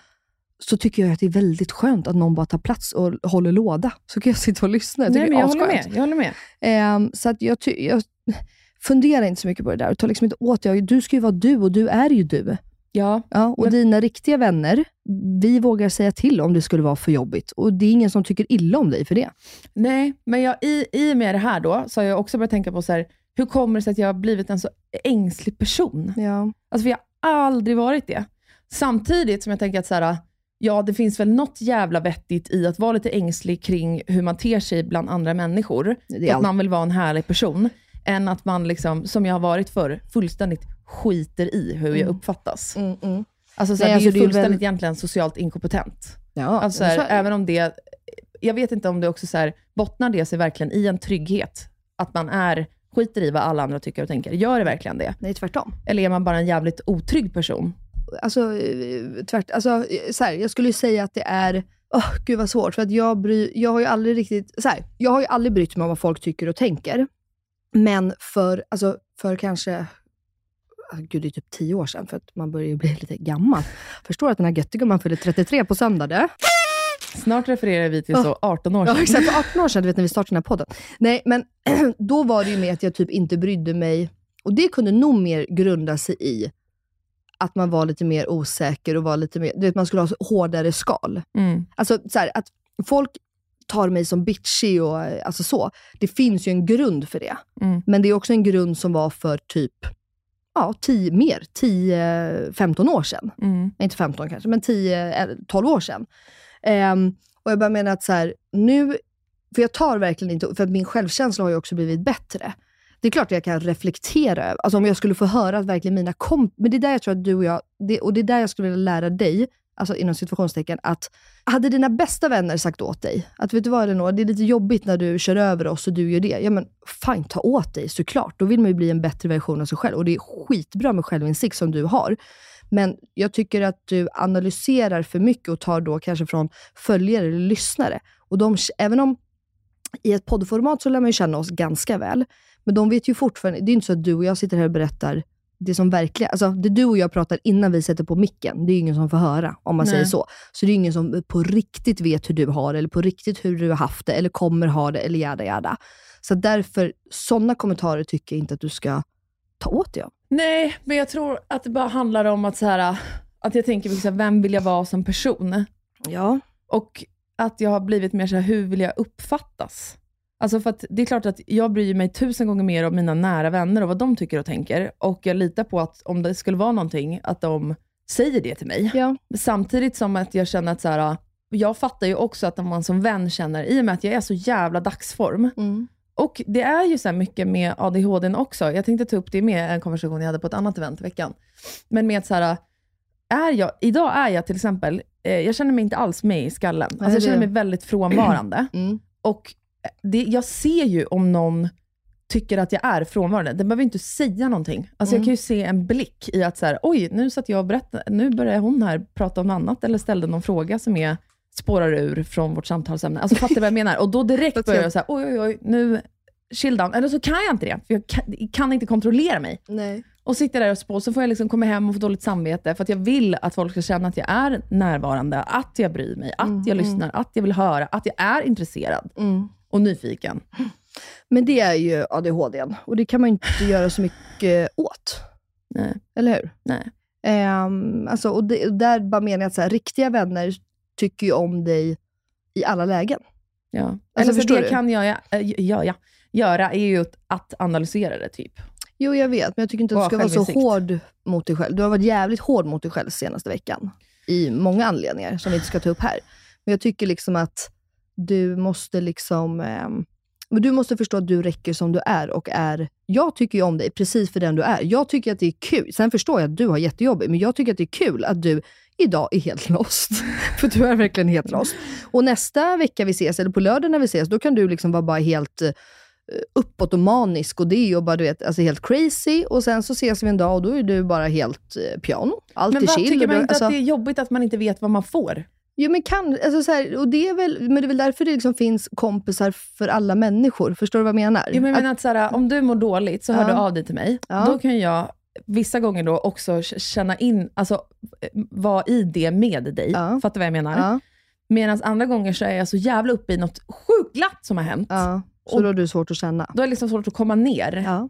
[SPEAKER 4] så tycker jag att det är väldigt skönt att någon bara tar plats och håller låda. Så kan jag sitta och lyssna. Mm. Jag tycker
[SPEAKER 5] Nej, men jag
[SPEAKER 4] det är
[SPEAKER 5] håller med.
[SPEAKER 4] asskönt.
[SPEAKER 5] Jag håller med.
[SPEAKER 4] Ehm, så att jag, ty- jag (laughs) funderar inte så mycket på det där och tar liksom inte åt det. Du ska ju vara du och du är ju du.
[SPEAKER 5] Ja.
[SPEAKER 4] Ja, och
[SPEAKER 5] Men-
[SPEAKER 4] dina riktiga vänner, vi vågar säga till om det skulle vara för jobbigt. Och det är ingen som tycker illa om dig för det.
[SPEAKER 5] Nej, men jag, i, i och med det här då, så har jag också börjat tänka på så här, hur kommer det sig att jag har blivit en så ängslig person?
[SPEAKER 4] Ja.
[SPEAKER 5] Alltså, för jag har aldrig varit det. Samtidigt som jag tänker att så här, ja, det finns väl något jävla vettigt i att vara lite ängslig kring hur man ter sig bland andra människor.
[SPEAKER 4] Det
[SPEAKER 5] För
[SPEAKER 4] är
[SPEAKER 5] att
[SPEAKER 4] allt.
[SPEAKER 5] man vill vara en härlig person. Än att man, liksom, som jag har varit förr, fullständigt skiter i hur jag uppfattas.
[SPEAKER 4] Mm, mm.
[SPEAKER 5] Alltså, så
[SPEAKER 4] Nej,
[SPEAKER 5] här,
[SPEAKER 4] alltså,
[SPEAKER 5] det
[SPEAKER 4] det är
[SPEAKER 5] är ju
[SPEAKER 4] väl-
[SPEAKER 5] fullständigt egentligen socialt inkompetent.
[SPEAKER 4] Ja,
[SPEAKER 5] Alltså, så
[SPEAKER 4] men
[SPEAKER 5] här,
[SPEAKER 4] så är det.
[SPEAKER 5] även om det, jag vet inte om det också så här, bottnar det sig verkligen i en trygghet? Att man är, skiter i vad alla andra tycker och tänker. Gör det verkligen det?
[SPEAKER 4] Nej, tvärtom.
[SPEAKER 5] Eller är man bara en jävligt otrygg person?
[SPEAKER 4] alltså, eh, tvärt, alltså eh, så här, jag skulle ju säga att det är, åh gud vad svårt, för att jag, bry, jag har ju aldrig riktigt, så här, jag har ju aldrig brytt mig om vad folk tycker och tänker. Men för, alltså, för kanske, ah, gud det är typ tio år sedan, för att man börjar ju bli (laughs) lite gammal. Förstår att den här göttegumman fyller 33 på söndag du.
[SPEAKER 5] Snart refererar vi till så 18 år
[SPEAKER 4] Ja,
[SPEAKER 5] sedan.
[SPEAKER 4] exakt. För 18 år sedan, du vet när vi startade den här podden. Nej, men (clears throat) då var det ju med att jag typ inte brydde mig. Och det kunde nog mer grunda sig i att man var lite mer osäker och var lite mer, du vet man skulle ha så hårdare skal.
[SPEAKER 5] Mm.
[SPEAKER 4] Alltså så här, att folk tar mig som bitchy och eh, alltså så. Det finns ju en grund för det.
[SPEAKER 5] Mm.
[SPEAKER 4] Men det är också en grund som var för typ, ja, 10, mer, 10-15 år sedan
[SPEAKER 5] Mm.
[SPEAKER 4] inte 15 kanske, men 10, eller 12 år sedan. Ehm, och jag bara menar att så här, nu, för jag tar verkligen inte, för att min självkänsla har ju också blivit bättre. Det är klart att jag kan reflektera över, alltså om jag skulle få höra att verkligen mina komp... Men det är där jag tror att du och jag, det, och det är där jag skulle vilja lära dig, alltså inom situationstecken, att hade dina bästa vänner sagt åt dig att vet du vad Elinor, det är lite jobbigt när du kör över oss och du gör det. Ja men fine, ta åt dig såklart. Då vill man ju bli en bättre version av sig själv och det är skitbra med självinsikt som du har. Men jag tycker att du analyserar för mycket och tar då kanske från följare eller lyssnare. Och de, även om i ett poddformat så lär man ju känna oss ganska väl, men de vet ju fortfarande, det är inte så att du och jag sitter här och berättar det som verkligen, alltså det du och jag pratar innan vi sätter på micken, det är ju ingen som får höra om man
[SPEAKER 5] Nej.
[SPEAKER 4] säger så. Så det är ingen som på riktigt vet hur du har eller på riktigt hur du har haft det eller kommer ha det eller jada jada. Så därför, sådana kommentarer tycker jag inte att du ska ta åt dig av.
[SPEAKER 5] Nej, men jag tror att det bara handlar om att, så här, att jag tänker, liksom, vem vill jag vara som person?
[SPEAKER 4] Ja.
[SPEAKER 5] Och att jag har blivit mer så här, hur vill jag uppfattas? Alltså för att det är klart att jag bryr mig tusen gånger mer om mina nära vänner och vad de tycker och tänker. Och jag litar på att om det skulle vara någonting, att de säger det till mig.
[SPEAKER 4] Ja.
[SPEAKER 5] Samtidigt som att jag känner att så här, jag fattar ju också att om man som vän känner, i och med att jag är så jävla dagsform,
[SPEAKER 4] Mm.
[SPEAKER 5] och det är ju så här mycket med ADHD också. Jag tänkte ta upp det med en konversation jag hade på ett annat event i veckan. Men med att så här, är jag, idag är jag till exempel, eh, jag känner mig inte alls med i skallen.
[SPEAKER 4] Nej,
[SPEAKER 5] Alltså jag
[SPEAKER 4] det-
[SPEAKER 5] känner mig väldigt frånvarande.
[SPEAKER 4] Mm.
[SPEAKER 5] Och det, jag ser ju om någon tycker att jag är frånvarande. Den behöver inte säga någonting. Alltså Jag
[SPEAKER 4] Mm.
[SPEAKER 5] kan ju se en blick i att så här, oj, nu satt jag och berättade, nu börjar hon här prata om något annat, eller ställde någon fråga som är spårar ur från vårt samtalsämne. Alltså fattar du vad jag menar? Och då direkt börjar jag säga, oj, oj, oj, nu, chill down. Eller så kan jag inte det, för jag kan, kan inte kontrollera mig.
[SPEAKER 4] Nej.
[SPEAKER 5] Och sitter där och spår, så får jag liksom komma hem och få dåligt samvete, för att jag vill att folk ska känna att jag är närvarande, att jag bryr mig, att jag lyssnar, att jag vill höra, att jag är intresserad och nyfiken.
[SPEAKER 4] Men det är ju ADHD n, och det kan man ju inte göra så mycket åt.
[SPEAKER 5] Nej.
[SPEAKER 4] Eller hur?
[SPEAKER 5] Nej.
[SPEAKER 4] Ehm, alltså, och det, och där bara menar jag att så här, riktiga vänner tycker ju om dig i alla lägen.
[SPEAKER 5] Ja. Eller så
[SPEAKER 4] Alltså, förstår
[SPEAKER 5] det
[SPEAKER 4] du?
[SPEAKER 5] kan jag, eh, jag, jag, jag göra är ju att analysera det, typ.
[SPEAKER 4] Jo, jag vet, men jag tycker inte att
[SPEAKER 5] Och
[SPEAKER 4] du ska vara så
[SPEAKER 5] självinsikt.
[SPEAKER 4] hård mot dig själv. Du har varit jävligt hård mot dig själv senaste veckan. I många anledningar som vi inte ska ta upp här. Men jag tycker liksom att du måste liksom... ehm, Men du måste förstå att du räcker som du är och är... Jag tycker ju om dig precis för den du är. Jag tycker att det är kul. Sen förstår jag att du har jättejobbigt, men jag tycker att det är kul att du idag är helt (laughs) lost. (laughs) för du är verkligen helt lost. Och nästa vecka vi ses, eller på lördag när vi ses, då kan du liksom vara bara helt eh, uppåt och manisk och det och bara, du vet, alltså helt crazy. Och sen så ses vi en dag och då är du bara helt eh, piano. Allt
[SPEAKER 5] Men
[SPEAKER 4] är
[SPEAKER 5] vad,
[SPEAKER 4] chill.
[SPEAKER 5] tycker
[SPEAKER 4] och
[SPEAKER 5] man
[SPEAKER 4] du-
[SPEAKER 5] inte
[SPEAKER 4] alltså-
[SPEAKER 5] att det är jobbigt att man inte vet vad man får?
[SPEAKER 4] Jo, men kan, alltså så här, och det är väl, men det är väl därför det liksom finns kompisar för alla människor. Förstår du vad jag menar?
[SPEAKER 5] Jo, men jag
[SPEAKER 4] Att-
[SPEAKER 5] menar att så här, om du mår dåligt så hör
[SPEAKER 4] Ja.
[SPEAKER 5] du av dig till mig.
[SPEAKER 4] Ja.
[SPEAKER 5] Då kan jag vissa gånger då också k- känna in, alltså eh, vara i det med dig.
[SPEAKER 4] Ja.
[SPEAKER 5] Fattar du vad jag menar?
[SPEAKER 4] ja,
[SPEAKER 5] Medan andra gånger så är jag så jävla uppe i något sjukt glatt som har hänt.
[SPEAKER 4] ja. Så
[SPEAKER 5] Och-
[SPEAKER 4] då har du svårt att känna.
[SPEAKER 5] Då är det liksom svårt att komma ner
[SPEAKER 4] Ja.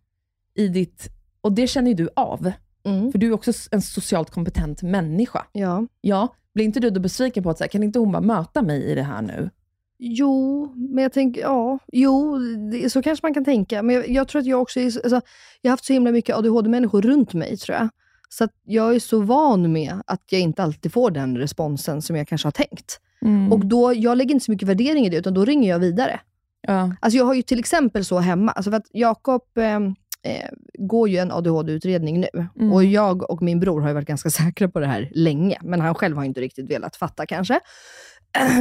[SPEAKER 5] i ditt... Och det känner ju du av,
[SPEAKER 4] Mm.
[SPEAKER 5] för du är också s- en socialt kompetent människa.
[SPEAKER 4] ja.
[SPEAKER 5] Ja, blir inte du då besviken på att så här, kan inte hon bara möta mig i det här nu?
[SPEAKER 4] Jo, men jag tänker, ja. Jo, det, så kanske man kan tänka. Men jag, jag tror att jag också är, så- alltså, jag har haft så himla mycket ADHD-människor runt mig, tror jag. Så att jag är så van med att jag inte alltid får den responsen som jag kanske har tänkt.
[SPEAKER 5] Mm.
[SPEAKER 4] Och då, jag lägger inte så mycket värdering i det, utan då ringer jag vidare.
[SPEAKER 5] ja.
[SPEAKER 4] Alltså jag har ju till exempel så hemma, alltså för att Jakob ehm, eh, går ju en ADHD-utredning nu.
[SPEAKER 5] Mm.
[SPEAKER 4] Och jag och min bror har ju varit ganska (laughs) säkra på det här länge, men han själv har ju inte riktigt velat fatta kanske. (clears throat)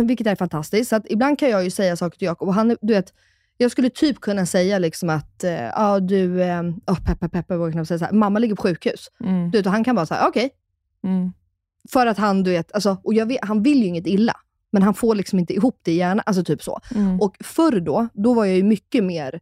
[SPEAKER 4] Vilket är fantastiskt. Så att ibland kan jag ju säga saker till Jakob och han, är- du vet, jag skulle typ kunna säga liksom att, eh, ja du, eh, oh, peppa peppa, vågar knappt säga så här, mamma ligger på sjukhus.
[SPEAKER 5] Mm.
[SPEAKER 4] Du vet, och han kan bara säga okej.
[SPEAKER 5] Mm.
[SPEAKER 4] För att han, du vet, alltså, och jag vet, han vill ju inget illa, men han får liksom inte ihop det i hjärnan. Alltså typ så.
[SPEAKER 5] Mm.
[SPEAKER 4] Och förr då, då var jag ju mycket mer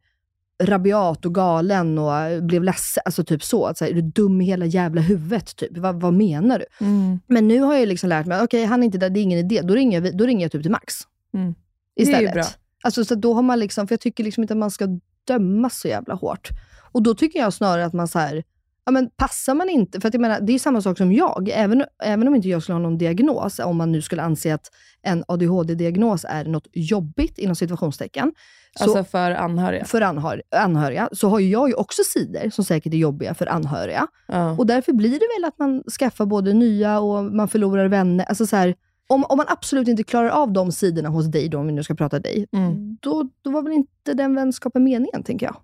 [SPEAKER 4] rabiat och galen och eh, blev ledsen. Alltså typ så. Att, så här, är du dum i hela jävla huvudet? Typ. Vad, vad menar du?
[SPEAKER 5] Mm.
[SPEAKER 4] Men nu har jag ju liksom lärt mig, okej han är inte där, det är ingen idé. Då ringer jag, vid- då ringer jag typ till Max.
[SPEAKER 5] Mm. Det är ju
[SPEAKER 4] Istället.
[SPEAKER 5] bra.
[SPEAKER 4] Alltså, så att då har man liksom, för jag tycker liksom inte att man ska döma så jävla hårt. Och då tycker jag snarare att man så här, ja men passar man inte, för att jag menar, det är ju samma sak som jag. Även, även om inte jag skulle ha någon diagnos, om man nu skulle anse att en ADHD-diagnos är något jobbigt, inom situationstecken, så
[SPEAKER 5] Alltså för anhöriga.
[SPEAKER 4] för anhör, anhöriga, så har ju jag ju också sidor som säkert är jobbiga för anhöriga.
[SPEAKER 5] Ja.
[SPEAKER 4] Och därför blir det väl att man skaffar både nya och man förlorar vänner. Alltså så här, om, om man absolut inte klarar av de sidorna hos dig, då, om vi nu ska prata dig,
[SPEAKER 5] Mm.
[SPEAKER 4] då, då var väl inte den vänskapen meningen, tänker jag.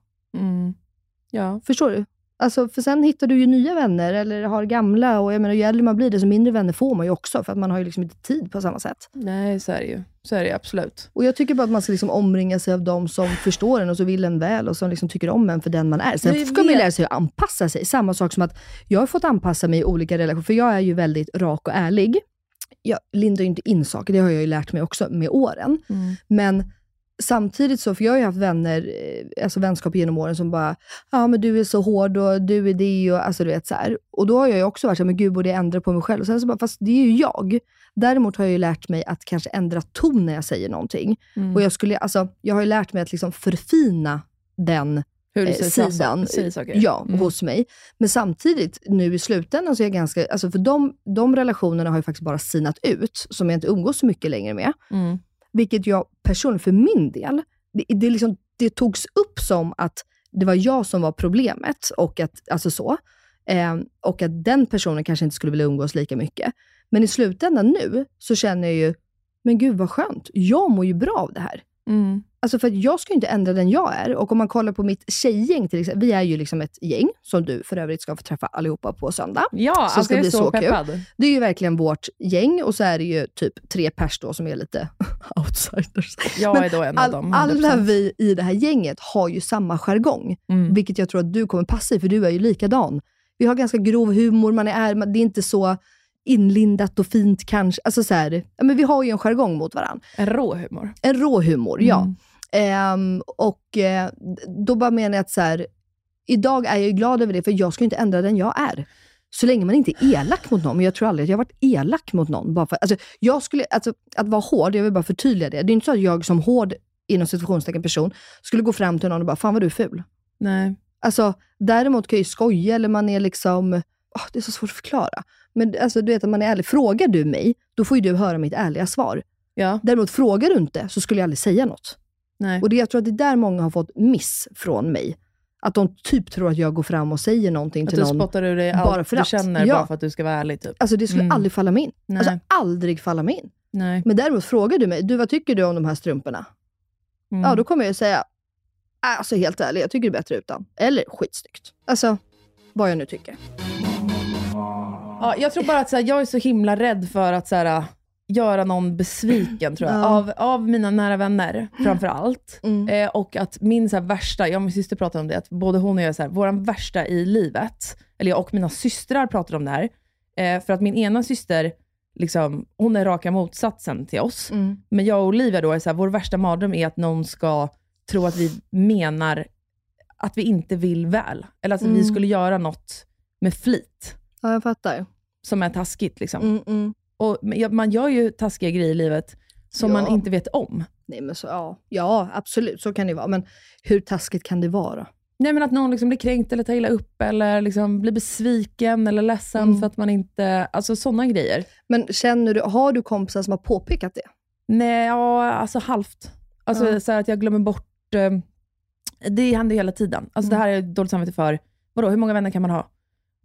[SPEAKER 5] Mm. Ja.
[SPEAKER 4] Förstår du? Alltså, för sen hittar du ju nya vänner, eller har gamla. Och jag menar, ju äldre man blir, desto mindre vänner får man ju också, för att man har ju liksom inte tid på samma sätt.
[SPEAKER 5] Nej, så är det ju. Så är det ju, absolut.
[SPEAKER 4] Och Jag tycker bara att man ska liksom omringa sig av de som förstår en och så vill en väl och som liksom tycker om en för den man är.
[SPEAKER 5] Men vi
[SPEAKER 4] Sen ska man ju
[SPEAKER 5] vet-
[SPEAKER 4] lära sig att anpassa sig. Samma sak som att jag har fått anpassa mig i olika relationer, för jag är ju väldigt rak och ärlig. Jag lindar ju inte in saker, det har jag ju lärt mig också med åren.
[SPEAKER 5] Mm.
[SPEAKER 4] Men samtidigt så, för jag har ju haft vänner, eh, alltså vänskap genom åren som bara, ja men du är så hård och du är det och alltså du vet så här. Och då har jag ju också varit så här, men gud borde jag ändra på mig själv? Och sen så bara, fast det är ju jag. Däremot har jag ju lärt mig att kanske ändra ton när jag säger någonting.
[SPEAKER 5] Mm.
[SPEAKER 4] Och jag, skulle, alltså, jag har ju lärt mig att liksom förfina den
[SPEAKER 5] Hur
[SPEAKER 4] eh,
[SPEAKER 5] du säger, sa-
[SPEAKER 4] sidan
[SPEAKER 5] säger saker.
[SPEAKER 4] ja,
[SPEAKER 5] Mm.
[SPEAKER 4] hos mig. Men samtidigt, nu i slutändan så är jag ganska... Alltså för de, de relationerna har ju faktiskt bara sinat ut, som jag inte umgås så mycket längre med.
[SPEAKER 5] Mm.
[SPEAKER 4] Vilket jag personligen, för min del, det, det, liksom, det togs upp som att det var jag som var problemet och att, alltså så. Eh, och att den personen kanske inte skulle vilja umgås lika mycket. Men i slutändan nu så känner jag ju, men gud vad skönt. Jag mår ju bra av det här.
[SPEAKER 5] Mm.
[SPEAKER 4] Alltså för att jag ska ju inte ändra den jag är. Och om man kollar på mitt tjejgäng till exempel. Vi är ju liksom ett gäng, som du för övrigt ska få träffa allihopa på söndag.
[SPEAKER 5] Ja, alltså
[SPEAKER 4] ska
[SPEAKER 5] jag är
[SPEAKER 4] bli
[SPEAKER 5] så,
[SPEAKER 4] så kul.
[SPEAKER 5] peppad.
[SPEAKER 4] Det är ju verkligen vårt gäng och så är det ju typ tre pers då som är lite (laughs) outsiders.
[SPEAKER 5] Jag
[SPEAKER 4] Men
[SPEAKER 5] är då en
[SPEAKER 4] All,
[SPEAKER 5] av dem.
[SPEAKER 4] alla
[SPEAKER 5] 100%.
[SPEAKER 4] vi i det här gänget har ju samma jargong,
[SPEAKER 5] Mm.
[SPEAKER 4] vilket jag tror att du kommer passa i, för du är ju likadan. Vi har ganska grov humor, man är, man, det är inte så inlindat och fint kanske. Alltså så här, ja, men vi har ju en jargong mot varandra.
[SPEAKER 5] En rå humor.
[SPEAKER 4] En rå humor, ja.
[SPEAKER 5] Mm.
[SPEAKER 4] Ehm, och eh, då bara menar jag att så här, idag är jag ju glad över det, för jag ska ju inte ändra den jag är. Så länge man inte är elak mot någon, men jag tror aldrig att jag har varit elak mot någon. Bara för, alltså, jag skulle, alltså, att vara hård, jag vill bara förtydliga det. Det är inte så att jag som hård, inom situationstecken person, skulle gå fram till någon och bara, fan vad du är ful.
[SPEAKER 5] Nej.
[SPEAKER 4] Alltså, däremot kan jag ju skoja eller man är liksom, åh, det är så svårt att förklara. Men alltså, du vet att man är ärlig. Frågar du mig, då får ju du höra mitt ärliga svar.
[SPEAKER 5] Ja.
[SPEAKER 4] Däremot frågar du inte, så skulle jag aldrig säga något.
[SPEAKER 5] Nej.
[SPEAKER 4] Och det, jag tror att det är där många har fått miss från mig. Att de typ tror att jag går fram och säger någonting
[SPEAKER 5] Att
[SPEAKER 4] till
[SPEAKER 5] du
[SPEAKER 4] någon.
[SPEAKER 5] spottar ur dig
[SPEAKER 4] bara
[SPEAKER 5] allt
[SPEAKER 4] för
[SPEAKER 5] du
[SPEAKER 4] att.
[SPEAKER 5] känner
[SPEAKER 4] Ja.
[SPEAKER 5] bara för att du ska vara ärlig. Typ.
[SPEAKER 4] Alltså det skulle
[SPEAKER 5] Mm.
[SPEAKER 4] aldrig falla mig in.
[SPEAKER 5] Nej.
[SPEAKER 4] Alltså aldrig falla mig in.
[SPEAKER 5] Nej.
[SPEAKER 4] Men däremot frågar du mig, du vad tycker du om de här strumporna?
[SPEAKER 5] Mm.
[SPEAKER 4] Ja, då kommer jag ju säga, Alltså helt ärligt, jag tycker det är bättre utan. Eller skitsnyggt. Alltså, vad jag nu tycker.
[SPEAKER 5] Ja, jag tror bara att så här, jag är så himla rädd för att så här, göra någon besviken, tror jag.
[SPEAKER 8] Ja. Mm.
[SPEAKER 5] Av, av mina nära vänner, framför allt. Eh, och att min så här, värsta, jag och min syster pratade om det, att både hon och jag, är så här, vår värsta i livet, eller jag och mina systrar pratar om det här. Eh, för att min ena syster, liksom, hon är raka motsatsen till oss.
[SPEAKER 8] Mm.
[SPEAKER 5] Men jag och Olivia då, är så här, vår värsta mardröm är att någon ska tro att vi menar att vi inte vill väl. Eller att vi
[SPEAKER 4] Mm.
[SPEAKER 5] skulle göra något med flit
[SPEAKER 4] Ja, jag fattar.
[SPEAKER 5] som är taskigt. Liksom.
[SPEAKER 4] Mm, mm.
[SPEAKER 5] Och men jag- man gör ju taskiga grejer i livet som
[SPEAKER 4] Ja.
[SPEAKER 5] man inte vet om.
[SPEAKER 4] Nej, men så, ja. ja, absolut. Så kan det vara. Men hur taskigt kan det vara?
[SPEAKER 5] Nej, men att någon liksom blir kränkt eller tar illa upp eller liksom blir besviken eller ledsen
[SPEAKER 4] Mm.
[SPEAKER 5] för att man inte... Alltså sådana grejer.
[SPEAKER 4] Men känner du, har du kompisar som har påpekat det?
[SPEAKER 5] Nej, ja, alltså halvt. Alltså
[SPEAKER 4] Ja.
[SPEAKER 5] så här att jag glömmer bort... Eh, det händer ju hela tiden. Alltså
[SPEAKER 4] Mm.
[SPEAKER 5] det här är jag dåligt samvete för. Vadå, hur många vänner kan man ha?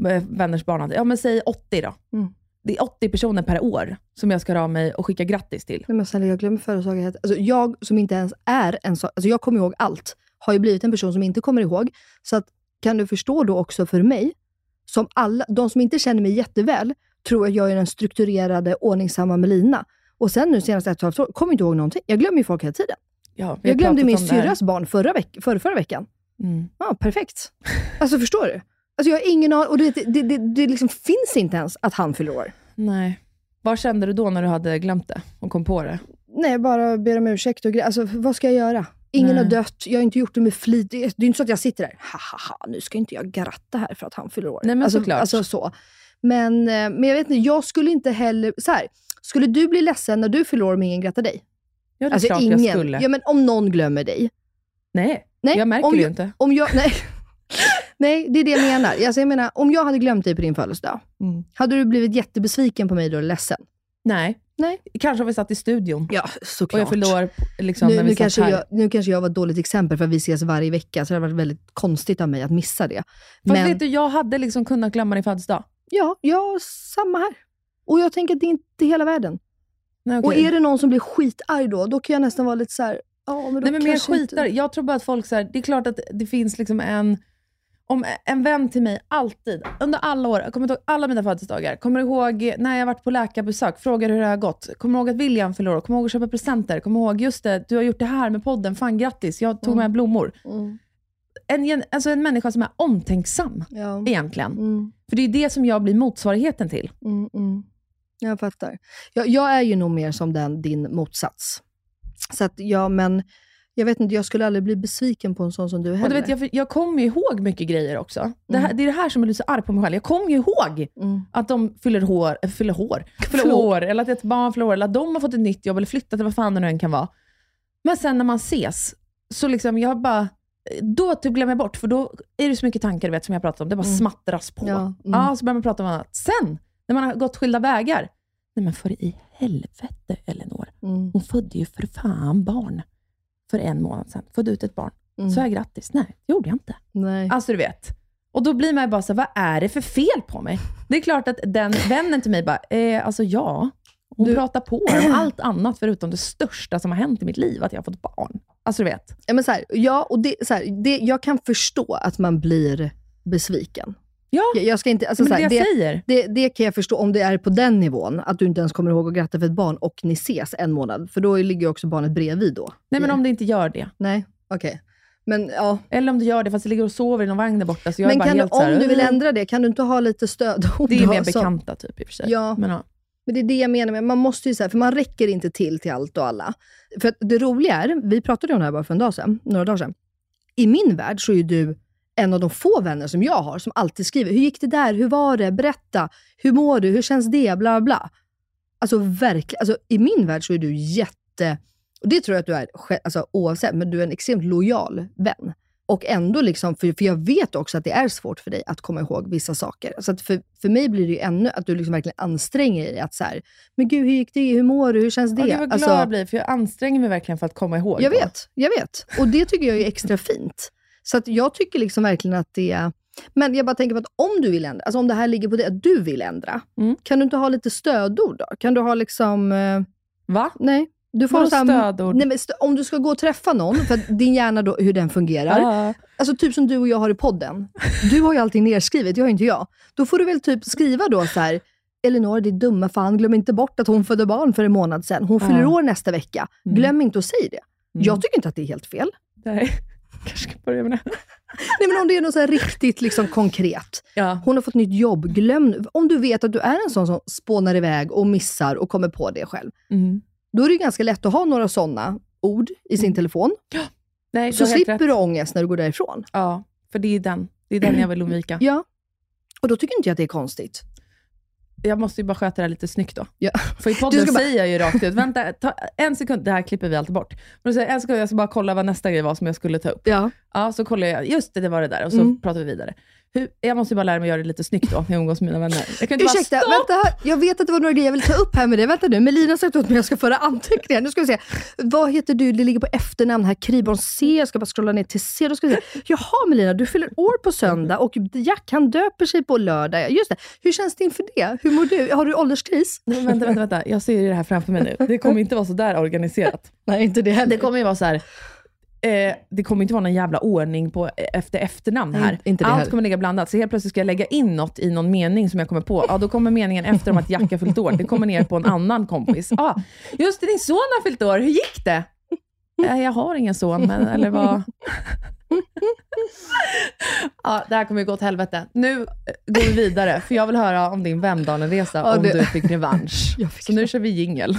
[SPEAKER 5] Eh, Vänners barn. hade- Ja, men säg 80 då.
[SPEAKER 4] Mm.
[SPEAKER 5] Det är 80 personer per år som jag ska höra av mig och skicka grattis till.
[SPEAKER 4] Nej, men snälla, jag glömmer födelsedagar. helt- Alltså, jag som inte ens är en sån, alltså jag kommer ihåg allt, har ju blivit en person som inte kommer ihåg. Så att, kan du förstå då också för mig, som alla, de som inte känner mig jätteväl, tror att jag är den strukturerade, ordningsamma Melina. Och sen nu senaste ett och ett halvt år, kommer jag inte ihåg någonting. Jag glömmer ju folk hela tiden.
[SPEAKER 5] Ja, vi har
[SPEAKER 4] Jag glömde
[SPEAKER 5] pratat
[SPEAKER 4] min
[SPEAKER 5] om det här.
[SPEAKER 4] syrras barn förra, veck- förra, förra veckan.
[SPEAKER 5] Mm.
[SPEAKER 4] Ja,
[SPEAKER 5] (laughs)
[SPEAKER 4] perfekt. Alltså förstår du? Alltså jag har ingen aning, och det, det, det, det liksom finns inte ens att han fyller år.
[SPEAKER 5] Nej. Vad kände du då när du hade glömt det och kom på det?
[SPEAKER 4] Nej, bara ber om ursäkt och grejer. Alltså, vad ska jag göra? Ingen
[SPEAKER 5] Nej.
[SPEAKER 4] har dött, jag har inte gjort det med flit. Det är det är inte så att jag sitter där, ha ha ha, nu ska inte jag gratta här för att han fyller år.
[SPEAKER 5] Nej, men
[SPEAKER 4] alltså,
[SPEAKER 5] såklart.
[SPEAKER 4] Alltså så. Men, eh, men jag vet inte, jag skulle inte heller... Så här, skulle du bli ledsen när du fyller år om ingen grattar dig?
[SPEAKER 5] Ja, det är
[SPEAKER 4] alltså
[SPEAKER 5] klart
[SPEAKER 4] ingen.
[SPEAKER 5] jag skulle.
[SPEAKER 4] Ja, men om någon glömmer dig.
[SPEAKER 5] Nej,
[SPEAKER 4] Nej,
[SPEAKER 5] jag märker
[SPEAKER 4] om
[SPEAKER 5] det ju
[SPEAKER 4] jag-
[SPEAKER 5] inte.
[SPEAKER 4] Om jag, nej, (laughs) nej, det är det jag menar. Alltså, jag menar. Om jag hade glömt dig på din födelsedag,
[SPEAKER 5] Mm.
[SPEAKER 4] hade du blivit jättebesviken på mig då, eller ledsen?
[SPEAKER 5] Nej.
[SPEAKER 4] Nej.
[SPEAKER 5] Kanske om vi satt i studion
[SPEAKER 4] Ja, såklart.
[SPEAKER 5] och jag förlorar liksom,
[SPEAKER 4] nu,
[SPEAKER 5] när vi
[SPEAKER 4] nu,
[SPEAKER 5] satt
[SPEAKER 4] kanske
[SPEAKER 5] här.
[SPEAKER 4] jag, nu kanske jag var ett dåligt exempel, för vi ses varje vecka, så det har varit väldigt konstigt av mig att missa det.
[SPEAKER 5] Fast
[SPEAKER 4] Men
[SPEAKER 5] vet du, jag hade liksom kunnat glömma din födelsedag.
[SPEAKER 4] ja, ja, samma här. Och jag tänker att det är inte hela världen.
[SPEAKER 5] Nej,
[SPEAKER 4] Och
[SPEAKER 5] okej.
[SPEAKER 4] är det någon som blir skitarg då, då kan jag nästan vara lite så här, ja men då
[SPEAKER 5] Nej, men mer
[SPEAKER 4] kanske
[SPEAKER 5] skitar.
[SPEAKER 4] inte...
[SPEAKER 5] Jag tror bara att folk så här, det är klart att det finns liksom en... Om en vän till mig alltid, under alla år, jag kommer ihåg alla mina födelsedagar, kommer ihåg när jag varit på läkarbesök, frågar hur det har gått, kommer ihåg att William förlorade, kommer ihåg att köpa presenter, kommer ihåg just det, du har gjort det här med podden, fan grattis, jag tog
[SPEAKER 4] Mm.
[SPEAKER 5] med blommor.
[SPEAKER 4] Mm,
[SPEAKER 5] En, gen- alltså en människa som är omtänksam
[SPEAKER 4] ja.
[SPEAKER 5] egentligen.
[SPEAKER 4] Mm,
[SPEAKER 5] För det är det som jag blir motsvarigheten till.
[SPEAKER 4] mm, mm. Jag fattar. Jag, jag är ju nog mer som den, din motsats. Så att, ja men, jag vet inte, jag skulle aldrig bli besviken på en sån som du heller.
[SPEAKER 5] Och du vet, jag, jag kommer ju ihåg mycket grejer också. Det, här, det är det här som jag blir så arg på mig själv. Jag kommer ju ihåg
[SPEAKER 4] Mm.
[SPEAKER 5] att de fyller hår, äh, fyller hår, fyller
[SPEAKER 4] Förlåt.
[SPEAKER 5] år, eller att ett barn fyller år, eller att de har fått ett nytt jobb, eller flyttat, eller vad fan det nu än kan vara. Men sen när man ses, så liksom jag bara, då typ glömmer jag bort, för då är det så mycket tankar du vet, som jag pratat om. Det bara
[SPEAKER 4] Mm.
[SPEAKER 5] smattras på.
[SPEAKER 4] Ja,
[SPEAKER 5] Ja,
[SPEAKER 4] mm.
[SPEAKER 5] så börjar man prata om annat. Sen, när man har gått skilda vägar, nej men för i helvete Elinor.
[SPEAKER 4] Mm,
[SPEAKER 5] Hon födde ju för fan barn för en månad sedan. Födde ut ett barn.
[SPEAKER 4] mm.
[SPEAKER 5] Så jag grattis. Nej, det gjorde jag inte.
[SPEAKER 4] Nej.
[SPEAKER 5] Alltså du vet. Och då blir man ju bara så här, vad är det för fel på mig? Det är klart att den vännen till mig bara, eh, alltså ja. Hon
[SPEAKER 4] Du-
[SPEAKER 5] pratar på om allt annat förutom det största som har hänt i mitt liv, att jag har fått barn. Alltså du vet.
[SPEAKER 4] Ja, men så här, ja, och det, så här, det, jag kan förstå att man blir besviken.
[SPEAKER 5] Ja,
[SPEAKER 4] Jag, jag ska inte, alltså,
[SPEAKER 5] men
[SPEAKER 4] så här,
[SPEAKER 5] det jag
[SPEAKER 4] det,
[SPEAKER 5] säger.
[SPEAKER 4] det, det kan jag förstå om det är på den nivån, att du inte ens kommer ihåg att gratta för ett barn och ni ses en månad, för då ligger ju också barnet bredvid då.
[SPEAKER 5] Nej men om det inte gör det.
[SPEAKER 4] Nej, okej. Men, ja.
[SPEAKER 5] Eller om det gör det fast det ligger och sover i någon vagn där borta. Så jag är
[SPEAKER 4] men
[SPEAKER 5] bara
[SPEAKER 4] kan du,
[SPEAKER 5] helt så här,
[SPEAKER 4] om du vill
[SPEAKER 5] "Ugh."
[SPEAKER 4] ändra det, kan du inte ha lite stödord?
[SPEAKER 5] Det
[SPEAKER 4] (laughs)
[SPEAKER 5] är
[SPEAKER 4] då,
[SPEAKER 5] mer
[SPEAKER 4] som-
[SPEAKER 5] bekanta typ i och för sig.
[SPEAKER 4] Ja.
[SPEAKER 5] Men, ja.
[SPEAKER 4] Men det är det jag menar med, man måste ju så här, för man räcker inte till till allt och alla. För att det roliga är, vi pratade om det här bara för en dag sedan, några dagar sedan. I min värld så är ju du en av de få vänner som jag har som alltid skriver, hur gick det där? Hur var det? Berätta. Hur mår du? Hur känns det? Bla, bla, bla. Alltså verkligen, alltså, i min värld så är du jätte, och det tror jag att du är sj- alltså, oavsett, men du är en extremt lojal vän. Och ändå, liksom, för, för jag vet också att det är svårt för dig att komma ihåg vissa saker. Så att för, för mig blir det ju ännu att du liksom verkligen anstränger dig. Att så här, men gud, hur gick det? Hur mår du? Hur känns det?
[SPEAKER 5] Ja, gud vad glad
[SPEAKER 4] Alltså,
[SPEAKER 5] jag blir, för jag anstränger mig verkligen för att komma ihåg.
[SPEAKER 4] jag
[SPEAKER 5] då.
[SPEAKER 4] vet, jag vet. Och det tycker jag är extra fint. Så att jag tycker liksom verkligen att det är... Men jag bara tänker på att om du vill ändra, alltså om det här ligger på det att du vill ändra,
[SPEAKER 5] Mm.
[SPEAKER 4] kan du inte ha lite stödord då? Kan du ha liksom... eh,
[SPEAKER 5] Va?
[SPEAKER 4] nej, Du får
[SPEAKER 5] Vadå
[SPEAKER 4] så här-
[SPEAKER 5] stödord?
[SPEAKER 4] Nej, men st- om du ska gå och träffa någon, för att din hjärna då, hur den fungerar.
[SPEAKER 5] Ja.
[SPEAKER 4] Alltså typ som du och jag har i podden. Du har ju allting nerskrivet, jag har inte jag. Då får du väl typ skriva då så här, Elinor, ditt dumma fan, glöm inte bort att hon födde barn för en månad sedan. Hon fyller
[SPEAKER 5] Ja.
[SPEAKER 4] år nästa vecka.
[SPEAKER 5] Mm.
[SPEAKER 4] Glöm inte att säga det.
[SPEAKER 5] Mm.
[SPEAKER 4] Jag tycker inte att det är helt fel.
[SPEAKER 5] (laughs) Nej, kanske ska börja med det.
[SPEAKER 4] Nej, men om det är något så här riktigt liksom konkret.
[SPEAKER 5] Ja.
[SPEAKER 4] Hon har fått nytt jobb. Glöm, om du vet att du är en sån som spånar iväg och missar och kommer på det själv,
[SPEAKER 5] Mm.
[SPEAKER 4] då är det ju ganska lätt att ha några sådana ord i sin telefon.
[SPEAKER 5] Nej,
[SPEAKER 4] Så
[SPEAKER 5] Mm. har helt
[SPEAKER 4] slipper
[SPEAKER 5] rätt.
[SPEAKER 4] du ångest när du går därifrån.
[SPEAKER 5] Ja, för det är den. Det är den jag vill undvika.
[SPEAKER 4] Ja. Och då tycker inte jag att det är konstigt.
[SPEAKER 5] Jag måste ju bara sköta det här lite snyggt då.
[SPEAKER 4] Ja.
[SPEAKER 5] För i
[SPEAKER 4] Du
[SPEAKER 5] podden
[SPEAKER 4] ska bara-
[SPEAKER 5] säger jag ju rakt ut, vänta, ta en sekund, det här klipper vi alltid bort. Men då säger jag, en sekund, jag ska bara kolla vad nästa grej var som jag skulle ta upp.
[SPEAKER 4] Ja.
[SPEAKER 5] Ja, så kollar jag, just det, det var det där, och så
[SPEAKER 4] Mm.
[SPEAKER 5] pratar vi vidare. Hur, jag måste ju bara lära mig att göra det lite snyggt då, när jag umgås med mina vänner. Jag kan ju inte
[SPEAKER 4] Ursäkta,
[SPEAKER 5] bara, stopp!
[SPEAKER 4] vänta här. Jag vet att det var några grejer jag ville ta upp här med dig. Vänta nu, Melina sa åt mig att jag ska föra anteckningar. Nu ska vi se. Vad heter du? Det ligger på efternamn här. Kriborn C. Jag ska bara scrolla ner till C. Då ska vi se. Jaha Melina, du fyller år på söndag och Jack han döper sig på lördag. Just det. Hur känns det inför det? Hur mår du? Har du ålderskris?
[SPEAKER 5] Nej, vänta, vänta, vänta, jag ser ju det här framför mig nu. Det kommer inte vara så där organiserat.
[SPEAKER 4] Nej, inte det heller.
[SPEAKER 5] Det kommer ju vara så här. Eh, det kommer inte vara någon jävla ordning på eh, efter efternamn här.
[SPEAKER 4] Nej, inte det
[SPEAKER 5] Allt
[SPEAKER 4] heller.
[SPEAKER 5] kommer ligga blandat. Så helt plötsligt ska jag lägga in något i någon mening som jag kommer på. Ja, då kommer meningen efter om att Jack har fyllt år. Det kommer ner på en annan kompis. Ja, just det, din son har fyllt år. Hur gick det? "Eh, Jag har ingen son, men eller vad... (laughs) Ja, det här kommer ju gå åt helvete. Nu eh, går vi vidare, för jag vill höra om din Vemdalen-resa,
[SPEAKER 4] Ja,
[SPEAKER 5] om
[SPEAKER 4] det-
[SPEAKER 5] du fick revansch.
[SPEAKER 4] (laughs) Jag fick
[SPEAKER 5] Så nu kör vi jingel.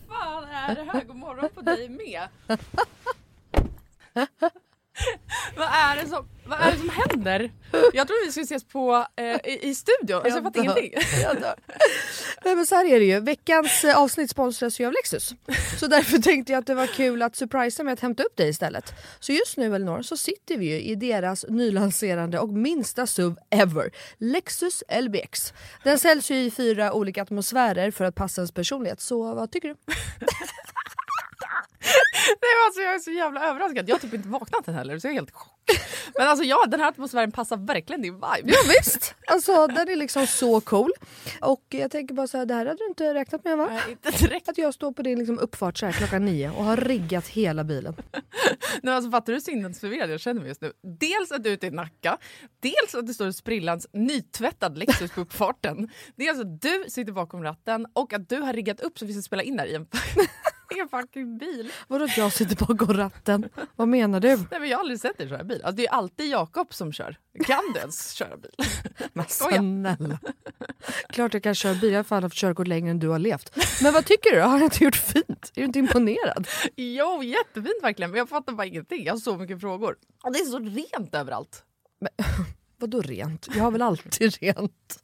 [SPEAKER 9] fan är det här? God morgon på dig med. vad, är det som, vad är det som händer? Jag trodde vi skulle ses på, eh, i, i studion, alltså, jag fattar
[SPEAKER 4] (laughs) Jag dör.
[SPEAKER 9] ingenting. (laughs)
[SPEAKER 4] Nej men så här är det ju. Veckans eh, avsnitt sponsras ju av Lexus. Så därför (laughs) tänkte jag att det var kul att surprisa med att hämta upp dig istället. Så just nu Elinor så sitter vi ju i deras nylanserande och minsta SUV ever. Lexus LBX. Den säljs ju i fyra olika atmosfärer för att passa ens personlighet. Så vad tycker du?
[SPEAKER 9] Nej, men alltså, jag är så jävla överraskad, jag har typ inte vaknat än heller så jag är helt i chock. Men alltså ja, den här atmosfären passar verkligen din vibe.
[SPEAKER 4] Ja, visst. Alltså den är liksom så cool. Och jag tänker bara så här, det här hade du inte räknat med va?
[SPEAKER 9] Nej, inte direkt.
[SPEAKER 4] Att jag står på din liksom uppfart så här klockan nio och har riggat hela bilen.
[SPEAKER 9] Nej, alltså, fattar du hur sinnesförvirrad jag känner mig just nu? Dels att du är ute i Nacka, dels att det står en sprillans nytvättad Lexus på uppfarten. Dels att du sitter bakom ratten och att du har riggat upp så vi ska spela in där i en, (laughs) i en fucking bil.
[SPEAKER 4] Vadå att jag sitter bakom ratten? Vad menar du?
[SPEAKER 9] Nej, men jag har aldrig sett dig köra bil. Alltså, det är alltid Jakob som kör. Kan du ens köra bil?
[SPEAKER 4] Men
[SPEAKER 9] Skoja.
[SPEAKER 4] snälla. Klart jag kan köra bil, jag har fan haft körkort längre än du har levt. Men vad tycker du? Har jag inte gjort fint? Är du inte imponerad?
[SPEAKER 9] Jo, jättefint verkligen. Men jag fattar bara ingenting. Jag har så mycket frågor. Och det är så rent överallt.
[SPEAKER 4] Vadå rent? Jag har väl alltid rent?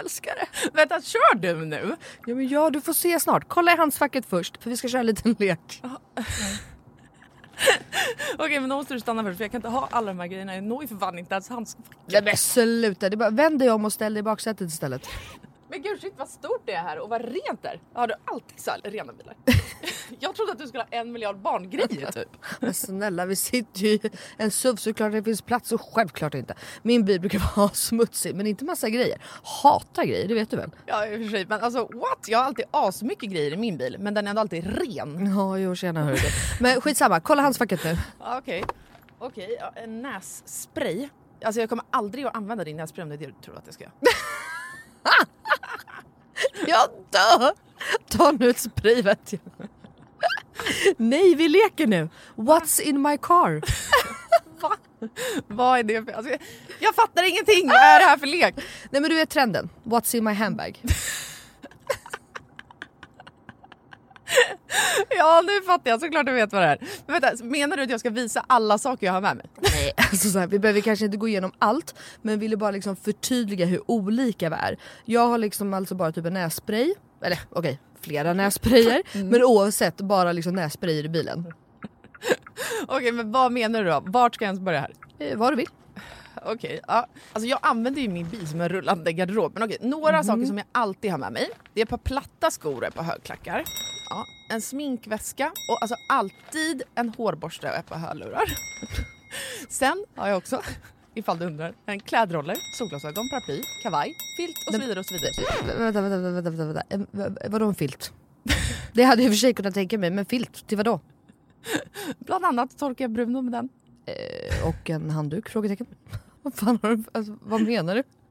[SPEAKER 4] Älskar
[SPEAKER 5] det. (laughs) Vänta, kör du nu?
[SPEAKER 4] Ja, men ja, du får se snart. Kolla i handskfacket först, för vi ska köra en liten lek.
[SPEAKER 5] Okej, men då måste du stanna först för jag kan inte ha alla de här grejerna. Jag når ju för fan inte ens hans...
[SPEAKER 4] Nej men sluta, det är bara, vänd dig om och ställ dig i baksätet istället.
[SPEAKER 5] Men gud shit vad stort det är här och vad rent det är. Har du alltid så här rena
[SPEAKER 4] (laughs)
[SPEAKER 5] bilar? jag trodde att du skulle ha en miljard barngrejer typ.
[SPEAKER 4] Men snälla, vi sitter ju i en SUV så klart det finns plats och självklart inte. Min bil brukar (laughs) vara smutsig men inte massa grejer. Hatar grejer, det vet du väl?
[SPEAKER 5] Ja i och för sig men alltså what? Jag har alltid asmycket grejer i min bil men den är ändå alltid ren.
[SPEAKER 4] Ja, jo tjena hörru du. Men skitsamma, kolla handskfacket nu. (laughs)
[SPEAKER 5] Ja, Okej, okej. ja, en nässpray. Alltså jag kommer aldrig att använda din nässpray om det är det du tror att jag ska göra.
[SPEAKER 4] (laughs) Jag dör! Ta nu ett spray vet jag. Nej, vi leker nu. What's in my car?
[SPEAKER 5] Vad är det för... Alltså, jag, jag fattar ingenting! Vad är det här för lek?
[SPEAKER 4] Nej men du vet trenden. What's in my handbag?
[SPEAKER 5] Ja nu fattar jag, såklart du vet vad det är. Men vänta, menar du att jag ska visa alla saker jag har med mig?
[SPEAKER 4] Nej, alltså så här, vi behöver kanske inte gå igenom allt men ville bara liksom förtydliga hur olika vi är. Jag har liksom alltså bara typ en nässpray, eller okej flera nässprayer men oavsett bara liksom nässprayer i bilen.
[SPEAKER 5] Okej men vad menar du då? Vart ska jag ens börja här?
[SPEAKER 4] Eh, var du vill.
[SPEAKER 5] Okej, ja. Alltså jag använder ju min bil som en rullande garderob. Men okej, några saker som jag alltid har med mig. Det är ett par platta skor och ett par högklackar. Ja, en sminkväska och alltså alltid en hårborste och ett par hörlurar. Sen har jag också, ifall du undrar, en klädroller, solglasögon, paraply, kavaj, filt och så vidare och så vidare.
[SPEAKER 4] Vänta, vänta, vänta, vänta, vänta. Eh, v- vadå en filt? Det hade jag i och för sig kunnat tänka mig men filt till vadå?
[SPEAKER 5] (laughs) Bland annat torkar jag Bruno med den.
[SPEAKER 4] Och en handduk? Frågetecken. (laughs) Vad fan har du, alltså, vad menar du?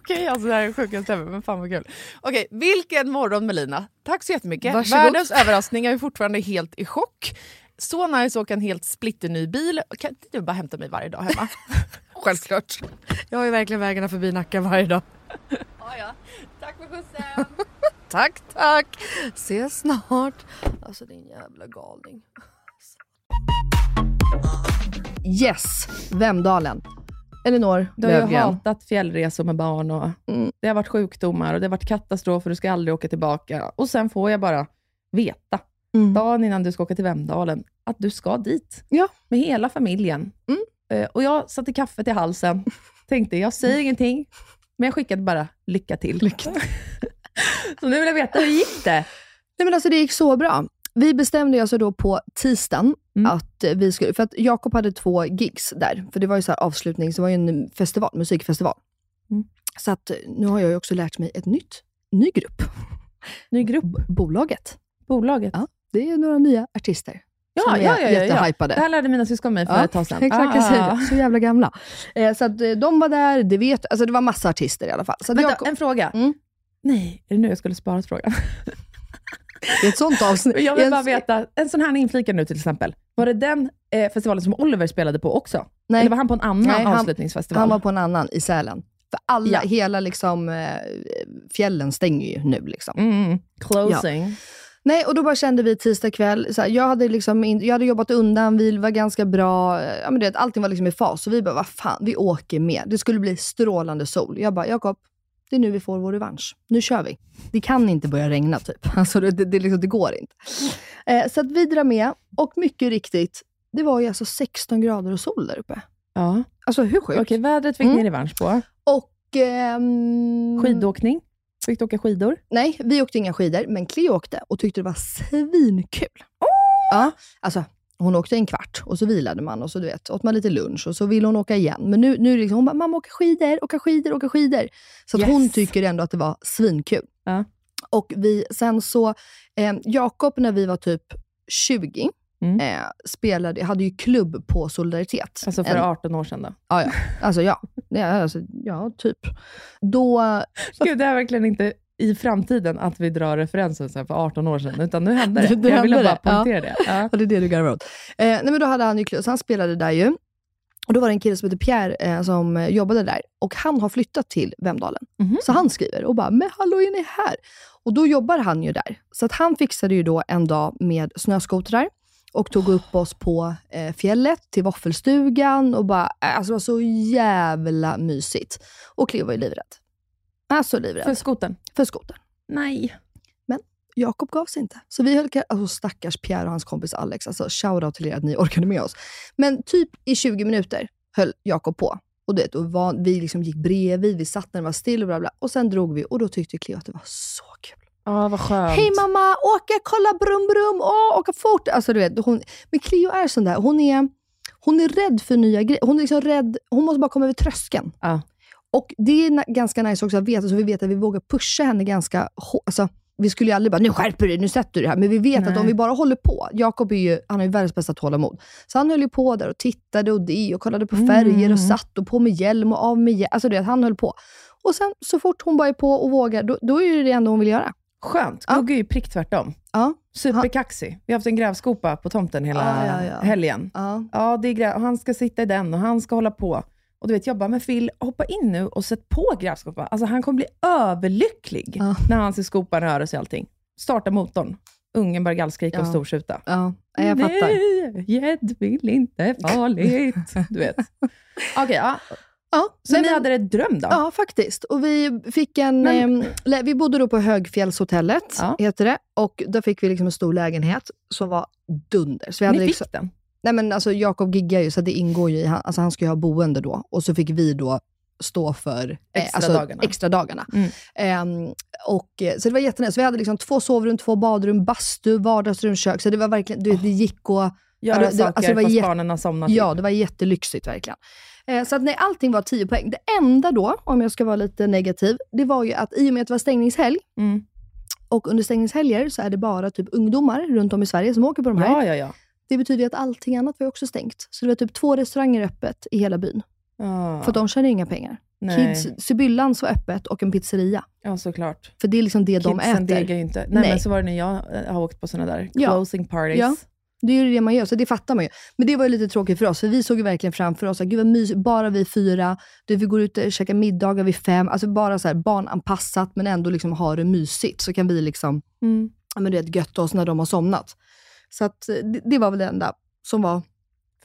[SPEAKER 5] Okej, alltså det här är sjukast ever, men fan vad kul. Okej, vilken morgon Melina. Tack så jättemycket.
[SPEAKER 4] Varsågod.
[SPEAKER 5] Världens överraskning, jag är fortfarande helt i chock. Så nice att åka en helt splitterny bil. Kan inte du bara hämta mig varje dag (laughs) hemma?
[SPEAKER 4] Självklart. Jag har ju verkligen vägarna förbi Nacka varje dag.
[SPEAKER 5] Tack för skjutsen.
[SPEAKER 4] (laughs) Tack, tack. Ses snart. Alltså din jävla galning. Yes, Vemdalen. Elinor
[SPEAKER 10] Du har ju
[SPEAKER 4] Löfgren. Mm.
[SPEAKER 10] hatat fjällresor med barn och det har varit sjukdomar och det har varit katastrofer, du ska aldrig åka tillbaka. Och sen får jag bara veta,
[SPEAKER 4] Mm.
[SPEAKER 10] dagen innan du ska åka till Vemdalen, att du ska dit. Med hela familjen.
[SPEAKER 4] Mm.
[SPEAKER 10] Eh, Och jag satte kaffet i
[SPEAKER 4] (laughs)
[SPEAKER 10] halsen, tänkte jag säger ingenting, men jag skickade bara lycka till. (laughs) Så nu vill jag veta, hur gick det?
[SPEAKER 4] Nej men alltså det gick så bra. Vi bestämde ju alltså då på tisdagen
[SPEAKER 5] Mm.
[SPEAKER 4] att eh, vi skulle, för att Jakob hade två gigs där, för det var ju så här avslutning, så det var ju en festival, musikfestival.
[SPEAKER 5] Mm.
[SPEAKER 4] Så att eh, nu har jag ju också lärt mig ett nytt, ny
[SPEAKER 5] (laughs)
[SPEAKER 4] grupp.
[SPEAKER 10] Ny grupp?
[SPEAKER 4] Bolaget.
[SPEAKER 10] Bolaget?
[SPEAKER 4] Ja, det är några nya artister som är
[SPEAKER 5] ja, ja, ja, ja.
[SPEAKER 4] jättehypade.
[SPEAKER 5] Det här lärde mina syskon mig för
[SPEAKER 4] Ja,
[SPEAKER 5] ett tag
[SPEAKER 4] (laughs)
[SPEAKER 5] sedan.
[SPEAKER 4] Exakt, jag säger
[SPEAKER 5] Ah.
[SPEAKER 4] det. Så jävla gamla. Eh, så att eh, de var där, det vet alltså det var massa artister i alla fall. Så att
[SPEAKER 5] Vänta,
[SPEAKER 4] jag,
[SPEAKER 5] en fråga.
[SPEAKER 4] Mm.
[SPEAKER 5] Nej, är det nu jag skulle spara frågan?
[SPEAKER 4] I ett sånt avsnitt.
[SPEAKER 5] (laughs) Jag vill
[SPEAKER 4] i
[SPEAKER 5] bara
[SPEAKER 4] en-
[SPEAKER 5] veta, en sån här inflikad nu till exempel. Var det den eh, festivalen som Oliver spelade på också?
[SPEAKER 4] Nej.
[SPEAKER 5] Eller var han på en annan
[SPEAKER 4] Nej, han-
[SPEAKER 5] avslutningsfestival?
[SPEAKER 4] Han var på en annan i Sälen. För alla,
[SPEAKER 5] Ja.
[SPEAKER 4] hela liksom, eh, fjällen stänger ju nu. Liksom.
[SPEAKER 5] Mm, closing.
[SPEAKER 4] Nej, och då bara kände vi tisdag kväll, så här, jag, hade liksom in, jag hade jobbat undan, vi var ganska bra, eh, ja, men det, allting var liksom i fas. Så vi bara, vad fan, vi åker med. Det skulle bli strålande sol. Jag bara, Jakob, det är nu vi får vår revansch. Nu kör vi. Det kan inte börja regna typ. (laughs) Alltså, det, det, det, liksom, det går inte. Eh, så att vi drar med, och mycket riktigt, det var ju alltså 16 grader och sol där uppe.
[SPEAKER 5] Ja.
[SPEAKER 4] Alltså hur sjukt? Mm.
[SPEAKER 5] Okej, vädret fick ni revansch på.
[SPEAKER 4] Och... ehm,
[SPEAKER 5] Skidåkning? Fick du åka skidor?
[SPEAKER 4] Nej, vi åkte inga skidor, men Cleo åkte och tyckte det var svinkul. Ja, alltså, hon åkte en kvart och så vilade man och så du vet, åt man lite lunch och så ville hon åka igen. Men nu, nu liksom, hon bara, mamma åka skidor, åka skidor, åka skidor. Så att hon tycker ändå att det var svinkul. Och vi, sen så, eh, Jakob när vi var typ 20,
[SPEAKER 5] Mm.
[SPEAKER 4] eh, spelade, hade ju klubb på Solidaritet.
[SPEAKER 5] Alltså för
[SPEAKER 4] En-
[SPEAKER 5] 18 år sedan då?
[SPEAKER 4] Ja, ja. Alltså ja. ja, alltså, ja typ. Då...
[SPEAKER 5] Gud, det är verkligen inte i framtiden att vi drar referensen så här för 18 år sedan, utan nu hände
[SPEAKER 4] Du-
[SPEAKER 5] det.
[SPEAKER 4] du
[SPEAKER 5] jag ville
[SPEAKER 4] hände
[SPEAKER 5] bara
[SPEAKER 4] (laughs) det, ja.
[SPEAKER 5] poängtera det. Ja.
[SPEAKER 4] Och det är det du garvar åt. Eh, nej men då hade han ju klubb, så han spelade där ju. Och då var det en kille som heter Pierre eh, som eh, jobbade där och han har flyttat till Vemdalen. Så han skriver och bara, men hallå är ni här? Och då jobbar han ju där. Så att han fixade ju då en dag med snöskotrar och tog upp oss på eh, fjället till våffelstugan och bara, eh, alltså det var så jävla mysigt. Och Cleo var ju livrädd. Alltså livrädd.
[SPEAKER 5] För skoten?
[SPEAKER 4] (laughs) För skoten.
[SPEAKER 5] Nej.
[SPEAKER 4] Men Jakob gav sig inte. Så vi höll alltså stackars Pierre och hans kompis Alex, alltså shoutout till er att ni orkade med oss. Men typ i 20 minuter höll Jakob på. Och, du vet, och var, vi liksom gick bredvid, vi satt när det var still och bla bla. Och sen drog vi och då tyckte Cleo att det var så kul.
[SPEAKER 5] Ja, vad skönt.
[SPEAKER 4] Hej mamma, åka, kolla brum brum, åh, åka fort. Alltså, du vet, hon, men Cleo är sån där, hon är, hon är rädd för nya grejer. Hon, är liksom rädd, hon måste bara komma över tröskeln. Och det är na- ganska nice också att veta, så vi vet att vi vågar pusha henne ganska hårt. Alltså, vi skulle ju aldrig bara, nu skärper du dig, nu sätter du det här. Men vi vet att
[SPEAKER 5] Nej.
[SPEAKER 4] om vi bara håller på. Jakob är ju, han har ju världens bästa tålamod. Så han höll ju på där och tittade och det och kollade på färger och satt och på med hjälm och av med hjälm. Alltså det, han höll på. Och sen så fort hon bara är på och vågar, då, då är det det enda hon vill göra.
[SPEAKER 5] Skönt. Gugge är ju prick tvärtom.
[SPEAKER 4] Ja.
[SPEAKER 5] Superkaxig. Vi har haft en grävskopa på tomten hela
[SPEAKER 4] Ja, ja, ja.
[SPEAKER 5] helgen.
[SPEAKER 4] Ja.
[SPEAKER 5] det är grä- och han ska sitta i den och han ska hålla på. Och du vet, jag bara, men Phil, hoppa in nu och sätt på grävskopan. Alltså han kommer bli överlycklig när han ser skopan röra sig och allting. Starta motorn. Ungen börjar gallskrika och
[SPEAKER 4] Ja.
[SPEAKER 5] stortjuta.
[SPEAKER 4] Ja, jag fattar.
[SPEAKER 5] Nej, gäddvill inte är
[SPEAKER 4] (laughs)
[SPEAKER 5] farligt. Du vet. Okej, ja. Så ni hade det dröm då?
[SPEAKER 4] Ja, faktiskt. Och vi, fick en,
[SPEAKER 5] Men-
[SPEAKER 4] ehm, lä- vi bodde då på Högfjällshotellet, heter det. Och där fick vi liksom en stor lägenhet som var dunder. Så vi hade
[SPEAKER 5] Ni fick
[SPEAKER 4] liksom,
[SPEAKER 5] den?
[SPEAKER 4] Nej, men alltså Jakob giggar ju, så det ingår ju i, han- alltså han ska ju ha boende då. Och så fick vi då stå för eh, alltså,
[SPEAKER 5] Extra dagarna. Mm.
[SPEAKER 4] extra dagarna. Ehm, och, eh, så det var jättenice. Så vi hade liksom två sovrum, två badrum, bastu, vardagsrum, kök. Så det var verkligen, du vet, det gick att...
[SPEAKER 5] Göra
[SPEAKER 4] ja, det- det-
[SPEAKER 5] saker
[SPEAKER 4] alltså det var
[SPEAKER 5] fast
[SPEAKER 4] jätte-
[SPEAKER 5] barnen har somnat.
[SPEAKER 4] Ja,
[SPEAKER 5] till.
[SPEAKER 4] det var jättelyxigt verkligen. Eh, Så att nej, allting var 10 poäng. Det enda då, om jag ska vara lite negativ, det var ju att i och med att det var stängningshelg,
[SPEAKER 5] Mm.
[SPEAKER 4] och under stängningshelger så är det bara typ ungdomar runt om i Sverige som åker på de här.
[SPEAKER 5] Ja, ja, ja.
[SPEAKER 4] Det betyder ju att allting annat var ju också stängt. Så det var typ två restauranger öppet i hela byn.
[SPEAKER 5] Ja.
[SPEAKER 4] För de tjänar ju inga pengar.
[SPEAKER 5] Ah, Nej.
[SPEAKER 4] Kids, Sibyllans var öppet och en pizzeria.
[SPEAKER 5] Ja, såklart.
[SPEAKER 4] För det är liksom det de äter.
[SPEAKER 5] Kidsen degar ju inte. Nej, men så var det när jag eh, har åkt på sådana där
[SPEAKER 4] Ja.
[SPEAKER 5] closing parties.
[SPEAKER 4] Ja. Det är ju det man gör, så det fattar man ju. Men det var ju lite tråkigt för oss, för vi såg ju verkligen framför oss, att gud vad mysigt, bara vi fyra, du, vi går ut och käkar middagar vid fem, alltså bara så här barnanpassat men ändå liksom ha det mysigt, så kan vi liksom,
[SPEAKER 5] Mm.
[SPEAKER 4] ja men du vet, götta oss när de har somnat. Så att, eh, det, det var väl det enda som var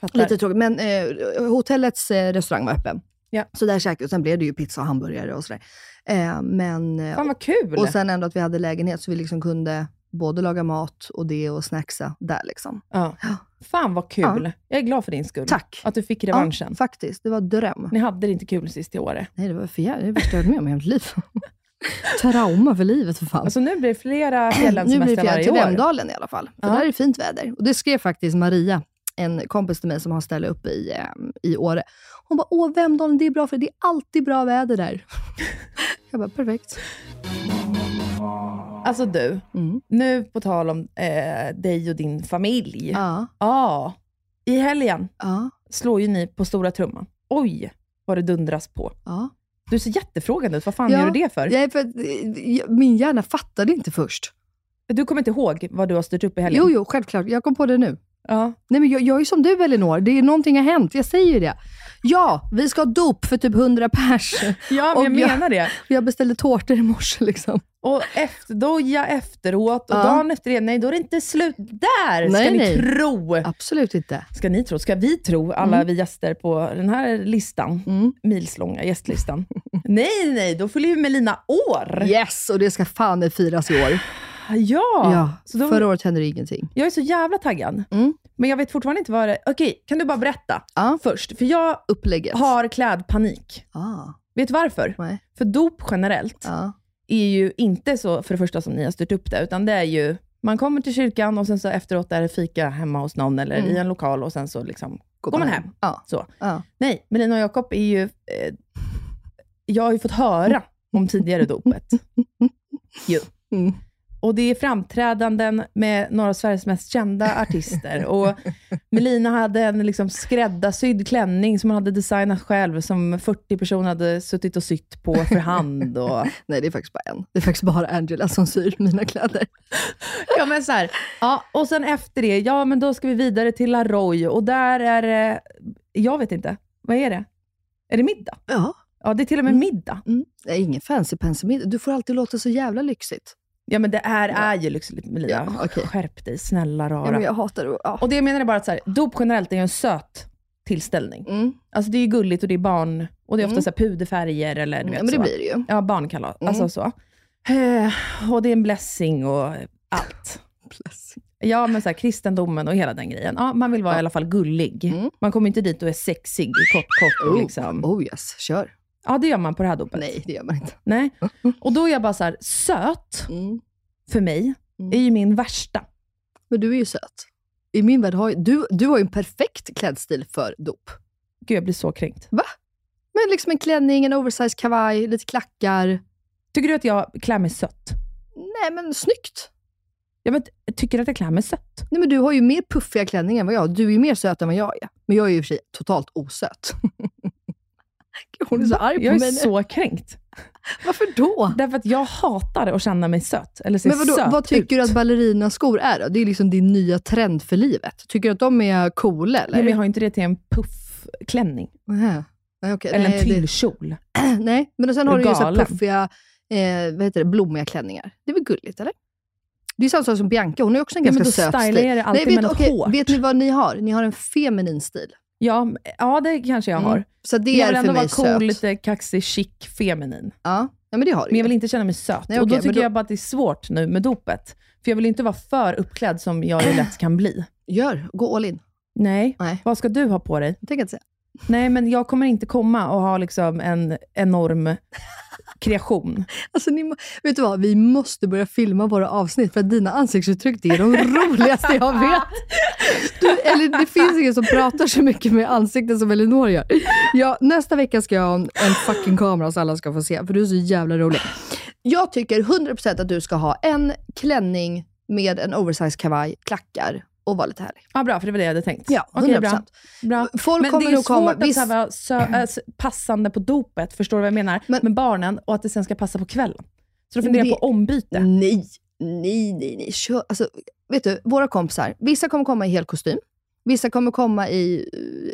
[SPEAKER 5] Fattar.
[SPEAKER 4] lite tråkigt. Men eh, hotellets eh, restaurang var öppen.
[SPEAKER 5] Ja.
[SPEAKER 4] Så där käkade vi, och sen blev det ju pizza och hamburgare och sådär. Eh, men, eh,
[SPEAKER 5] Fan vad kul!
[SPEAKER 4] och sen ändå att vi hade lägenhet, så vi liksom kunde både laga mat och det och snacksa där liksom.
[SPEAKER 5] Ja. Fan vad kul! Jag är glad för din skull. Tack! Att du fick revanschen.
[SPEAKER 4] Ja, faktiskt. Det var dröm.
[SPEAKER 5] Ni hade det inte kul sist i året.
[SPEAKER 4] Nej, det var för jävligt. Det värsta jag varit med om i hela mitt
[SPEAKER 5] (laughs)
[SPEAKER 4] liv. Trauma för livet för fan.
[SPEAKER 5] Alltså nu blir det
[SPEAKER 4] (clears throat)
[SPEAKER 5] flera
[SPEAKER 4] nu blir det
[SPEAKER 5] fjällsemestrar
[SPEAKER 4] fjärran
[SPEAKER 5] varje
[SPEAKER 4] till
[SPEAKER 5] år.
[SPEAKER 4] Vemdalen i alla fall. För
[SPEAKER 5] Ja.
[SPEAKER 4] där är det fint väder. Och det skrev faktiskt Maria, en kompis till mig som har ställe uppe i, eh, i Åre. Hon bara, åh Vemdalen, det är bra för
[SPEAKER 5] (laughs)
[SPEAKER 4] det är alltid bra väder där. jag bara, perfekt.
[SPEAKER 5] Alltså du,
[SPEAKER 4] Mm.
[SPEAKER 5] nu på tal om eh, dig och din familj.
[SPEAKER 8] Ja.
[SPEAKER 5] Ja. I helgen slår ju ni på stora trumman. Oj, vad det dundras på. Du ser jättefrågande ut. Vad fan
[SPEAKER 4] Ja,
[SPEAKER 5] gör du det för?
[SPEAKER 4] jag är för att, min hjärna fattade inte först.
[SPEAKER 5] Du kommer inte ihåg vad du har styrt upp i helgen?
[SPEAKER 4] Jo, jo, självklart. Jag kom på det nu.
[SPEAKER 5] Ja.
[SPEAKER 4] Nej, men jag, jag är som du, Elinor. Det är någonting har hänt. Jag säger ju det. Ja, vi ska ha dop för typ 100 pers.
[SPEAKER 5] Ja, men
[SPEAKER 4] Och
[SPEAKER 5] jag menar det.
[SPEAKER 4] Jag beställde tårtor i morse. Liksom.
[SPEAKER 5] Och efter, då ja, efteråt och
[SPEAKER 4] Ja.
[SPEAKER 5] dagen efter det, nej då är det inte slut där, ska
[SPEAKER 4] Nej,
[SPEAKER 5] ni
[SPEAKER 4] nej.
[SPEAKER 5] tro.
[SPEAKER 4] Absolut inte.
[SPEAKER 5] Ska ni tro, ska vi tro, alla
[SPEAKER 4] Mm.
[SPEAKER 5] vi gäster på den här listan, milslånga gästlistan. (laughs) nej, nej, då fyller ju Melina år.
[SPEAKER 4] Yes, och det ska fan i firas i år.
[SPEAKER 5] Ja,
[SPEAKER 4] Ja, Mm.
[SPEAKER 5] Så då-
[SPEAKER 4] förra året hände det ingenting.
[SPEAKER 5] Jag är så jävla taggad. Men jag vet fortfarande inte vad det Okej, kan du bara berätta först? För jag har klädpanik.
[SPEAKER 4] Ah.
[SPEAKER 5] Vet du varför? För dop generellt är ju inte så, för det första, som ni har styrt upp det, utan det är ju, man kommer till kyrkan och sen så efteråt är det fika hemma hos någon eller
[SPEAKER 4] Mm.
[SPEAKER 5] i en lokal och sen så liksom går, man hem. Så.
[SPEAKER 4] Ja.
[SPEAKER 5] Nej, Melina och Jakob är ju... Eh, jag har ju fått höra om
[SPEAKER 4] (laughs)
[SPEAKER 5] tidigare dopet. ju.
[SPEAKER 4] Mm.
[SPEAKER 5] Och det är framträdanden med några av Sveriges mest kända artister. Och Melina hade en liksom skräddarsydd klänning som hon hade designat själv, som 40 personer hade suttit och sytt på för hand. Och...
[SPEAKER 4] Nej, det är faktiskt bara en. Det är faktiskt bara Angela som syr mina kläder.
[SPEAKER 5] ja, men så här. Ja, och sen efter det, ja men då ska vi vidare till Laroy och där är det, jag vet inte, vad är det? Är det middag?
[SPEAKER 4] Ja.
[SPEAKER 5] Ja, det är till
[SPEAKER 4] Mm.
[SPEAKER 5] och med middag.
[SPEAKER 4] Nej, ingen fancy pansy middag. Du får alltid låta så jävla lyxigt.
[SPEAKER 5] Ja, men det här är ju lyxigt Melina. Skärp dig, snälla rara.
[SPEAKER 4] Ja, men jag hatar det. Ja.
[SPEAKER 5] Och det jag menar är bara att så här, dop generellt är ju en söt tillställning. Alltså det är ju gulligt och det är barn, och det är ofta
[SPEAKER 4] Mm.
[SPEAKER 5] så här puderfärger eller du vet
[SPEAKER 4] Ja, men det
[SPEAKER 5] så.
[SPEAKER 4] blir det ju.
[SPEAKER 5] Ja, barnkalas.
[SPEAKER 4] Mm.
[SPEAKER 5] Alltså så. Eh, och det är en blessing och allt. Ja, men så här, kristendomen och hela den grejen. Ja, man vill vara i alla fall gullig. Man kommer inte dit och är sexig i kort, kort och
[SPEAKER 4] Mm. Oh.
[SPEAKER 5] liksom.
[SPEAKER 4] Oh yes, kör.
[SPEAKER 5] Ja, det gör man på det här dopet.
[SPEAKER 4] Nej, det gör man inte. (laughs) Mm.
[SPEAKER 5] Nej. Och då är jag bara så här, söt för mig är ju min värsta.
[SPEAKER 4] Men du är ju söt. I min värld har ju, du, du har ju en perfekt klädstil för dop.
[SPEAKER 5] Gud, jag blir så kränkt.
[SPEAKER 4] Va? Men liksom en klänning, en oversized kavaj, lite klackar.
[SPEAKER 5] Tycker du att jag klär mig sött?
[SPEAKER 4] Nej, men snyggt.
[SPEAKER 5] Ja, men tycker du att jag klär mig sött?
[SPEAKER 4] Nej, men du har ju mer puffiga klänningar än vad jag har. Du är ju mer söt än vad jag är. Men jag är ju i och för sig totalt osöt. (laughs) Gud, Hon är så arg på
[SPEAKER 5] Jag är
[SPEAKER 4] mig nu.
[SPEAKER 5] så kränkt.
[SPEAKER 4] Varför då?
[SPEAKER 5] Därför att jag hatar att känna mig söt. Eller se
[SPEAKER 4] Men vadå,
[SPEAKER 5] söt
[SPEAKER 4] vad tycker du
[SPEAKER 5] ut.
[SPEAKER 4] att ballerinaskor är då? Det är liksom din nya trend för livet. Tycker du att de är coola eller?
[SPEAKER 5] Nej, men jag har ju inte det till en puffklänning.
[SPEAKER 4] Nähä. Nej, okej.
[SPEAKER 5] Eller en
[SPEAKER 4] Nej, det-
[SPEAKER 5] tyllkjol.
[SPEAKER 4] Nej, men och sen
[SPEAKER 5] Är
[SPEAKER 4] har
[SPEAKER 5] du
[SPEAKER 4] du ju så här
[SPEAKER 5] galen?
[SPEAKER 4] puffiga, eh, vad heter det, blommiga klänningar. Det är väl gulligt eller? Det är samma sak som Bianca, hon är också en
[SPEAKER 5] Ja, men
[SPEAKER 4] ganska
[SPEAKER 5] då
[SPEAKER 4] söt
[SPEAKER 5] stylar
[SPEAKER 4] stil.
[SPEAKER 5] jag det alltid med något
[SPEAKER 4] okej,
[SPEAKER 5] hårt.
[SPEAKER 4] Vet ni vad ni har? Ni har en feminin stil.
[SPEAKER 5] Ja, m- ja, det kanske jag
[SPEAKER 4] Mm.
[SPEAKER 5] har.
[SPEAKER 4] Så det
[SPEAKER 5] Men jag
[SPEAKER 4] är
[SPEAKER 5] vill
[SPEAKER 4] för
[SPEAKER 5] ändå
[SPEAKER 4] mig
[SPEAKER 5] vara cool,
[SPEAKER 4] söt.
[SPEAKER 5] lite kaxig, chic, feminin.
[SPEAKER 4] Ja, men det har du
[SPEAKER 5] Men jag vill inte känna mig söt.
[SPEAKER 4] Nej,
[SPEAKER 5] och då
[SPEAKER 4] okej, men
[SPEAKER 5] tycker
[SPEAKER 4] då-
[SPEAKER 5] jag bara att det är svårt nu med dopet. För jag vill inte vara för uppklädd som jag ju lätt kan bli.
[SPEAKER 4] Gör, gå all in.
[SPEAKER 5] Nej. Vad ska du ha på dig?
[SPEAKER 4] Jag tänker inte säga.
[SPEAKER 5] Nej, men jag kommer inte komma och ha liksom en enorm kreation.
[SPEAKER 4] Alltså, ni, må- vet du vad? Vi måste börja filma våra avsnitt, för att dina ansiktsuttryck det är
[SPEAKER 5] (laughs)
[SPEAKER 4] de roligaste jag vet. Du, eller det finns ingen som pratar så mycket med ansikten som Elinor gör. Ja, nästa vecka ska jag ha en en fucking kamera så alla ska få se, för du är så jävla rolig. Jag tycker 100% att du ska ha en klänning med en oversized kavaj, klackar och vara lite härlig.
[SPEAKER 5] Ja, bra, för det var det jag hade tänkt.
[SPEAKER 4] Ja,
[SPEAKER 5] Okej,
[SPEAKER 4] 100%.
[SPEAKER 5] bra. bra.
[SPEAKER 4] Folk
[SPEAKER 5] men
[SPEAKER 4] kommer
[SPEAKER 5] det är ju
[SPEAKER 4] nog komma-
[SPEAKER 5] svårt att
[SPEAKER 4] visst- Mm.
[SPEAKER 5] så här vara sö- äh, s- passande på dopet, förstår du vad jag menar? Med barnen och att det sen ska passa på kvällen. Så då funderar jag på ombyte.
[SPEAKER 4] Nej, nej, nej. nej. Kör, alltså, vet du, våra kompisar, vissa kommer komma i hel kostym. Vissa kommer komma i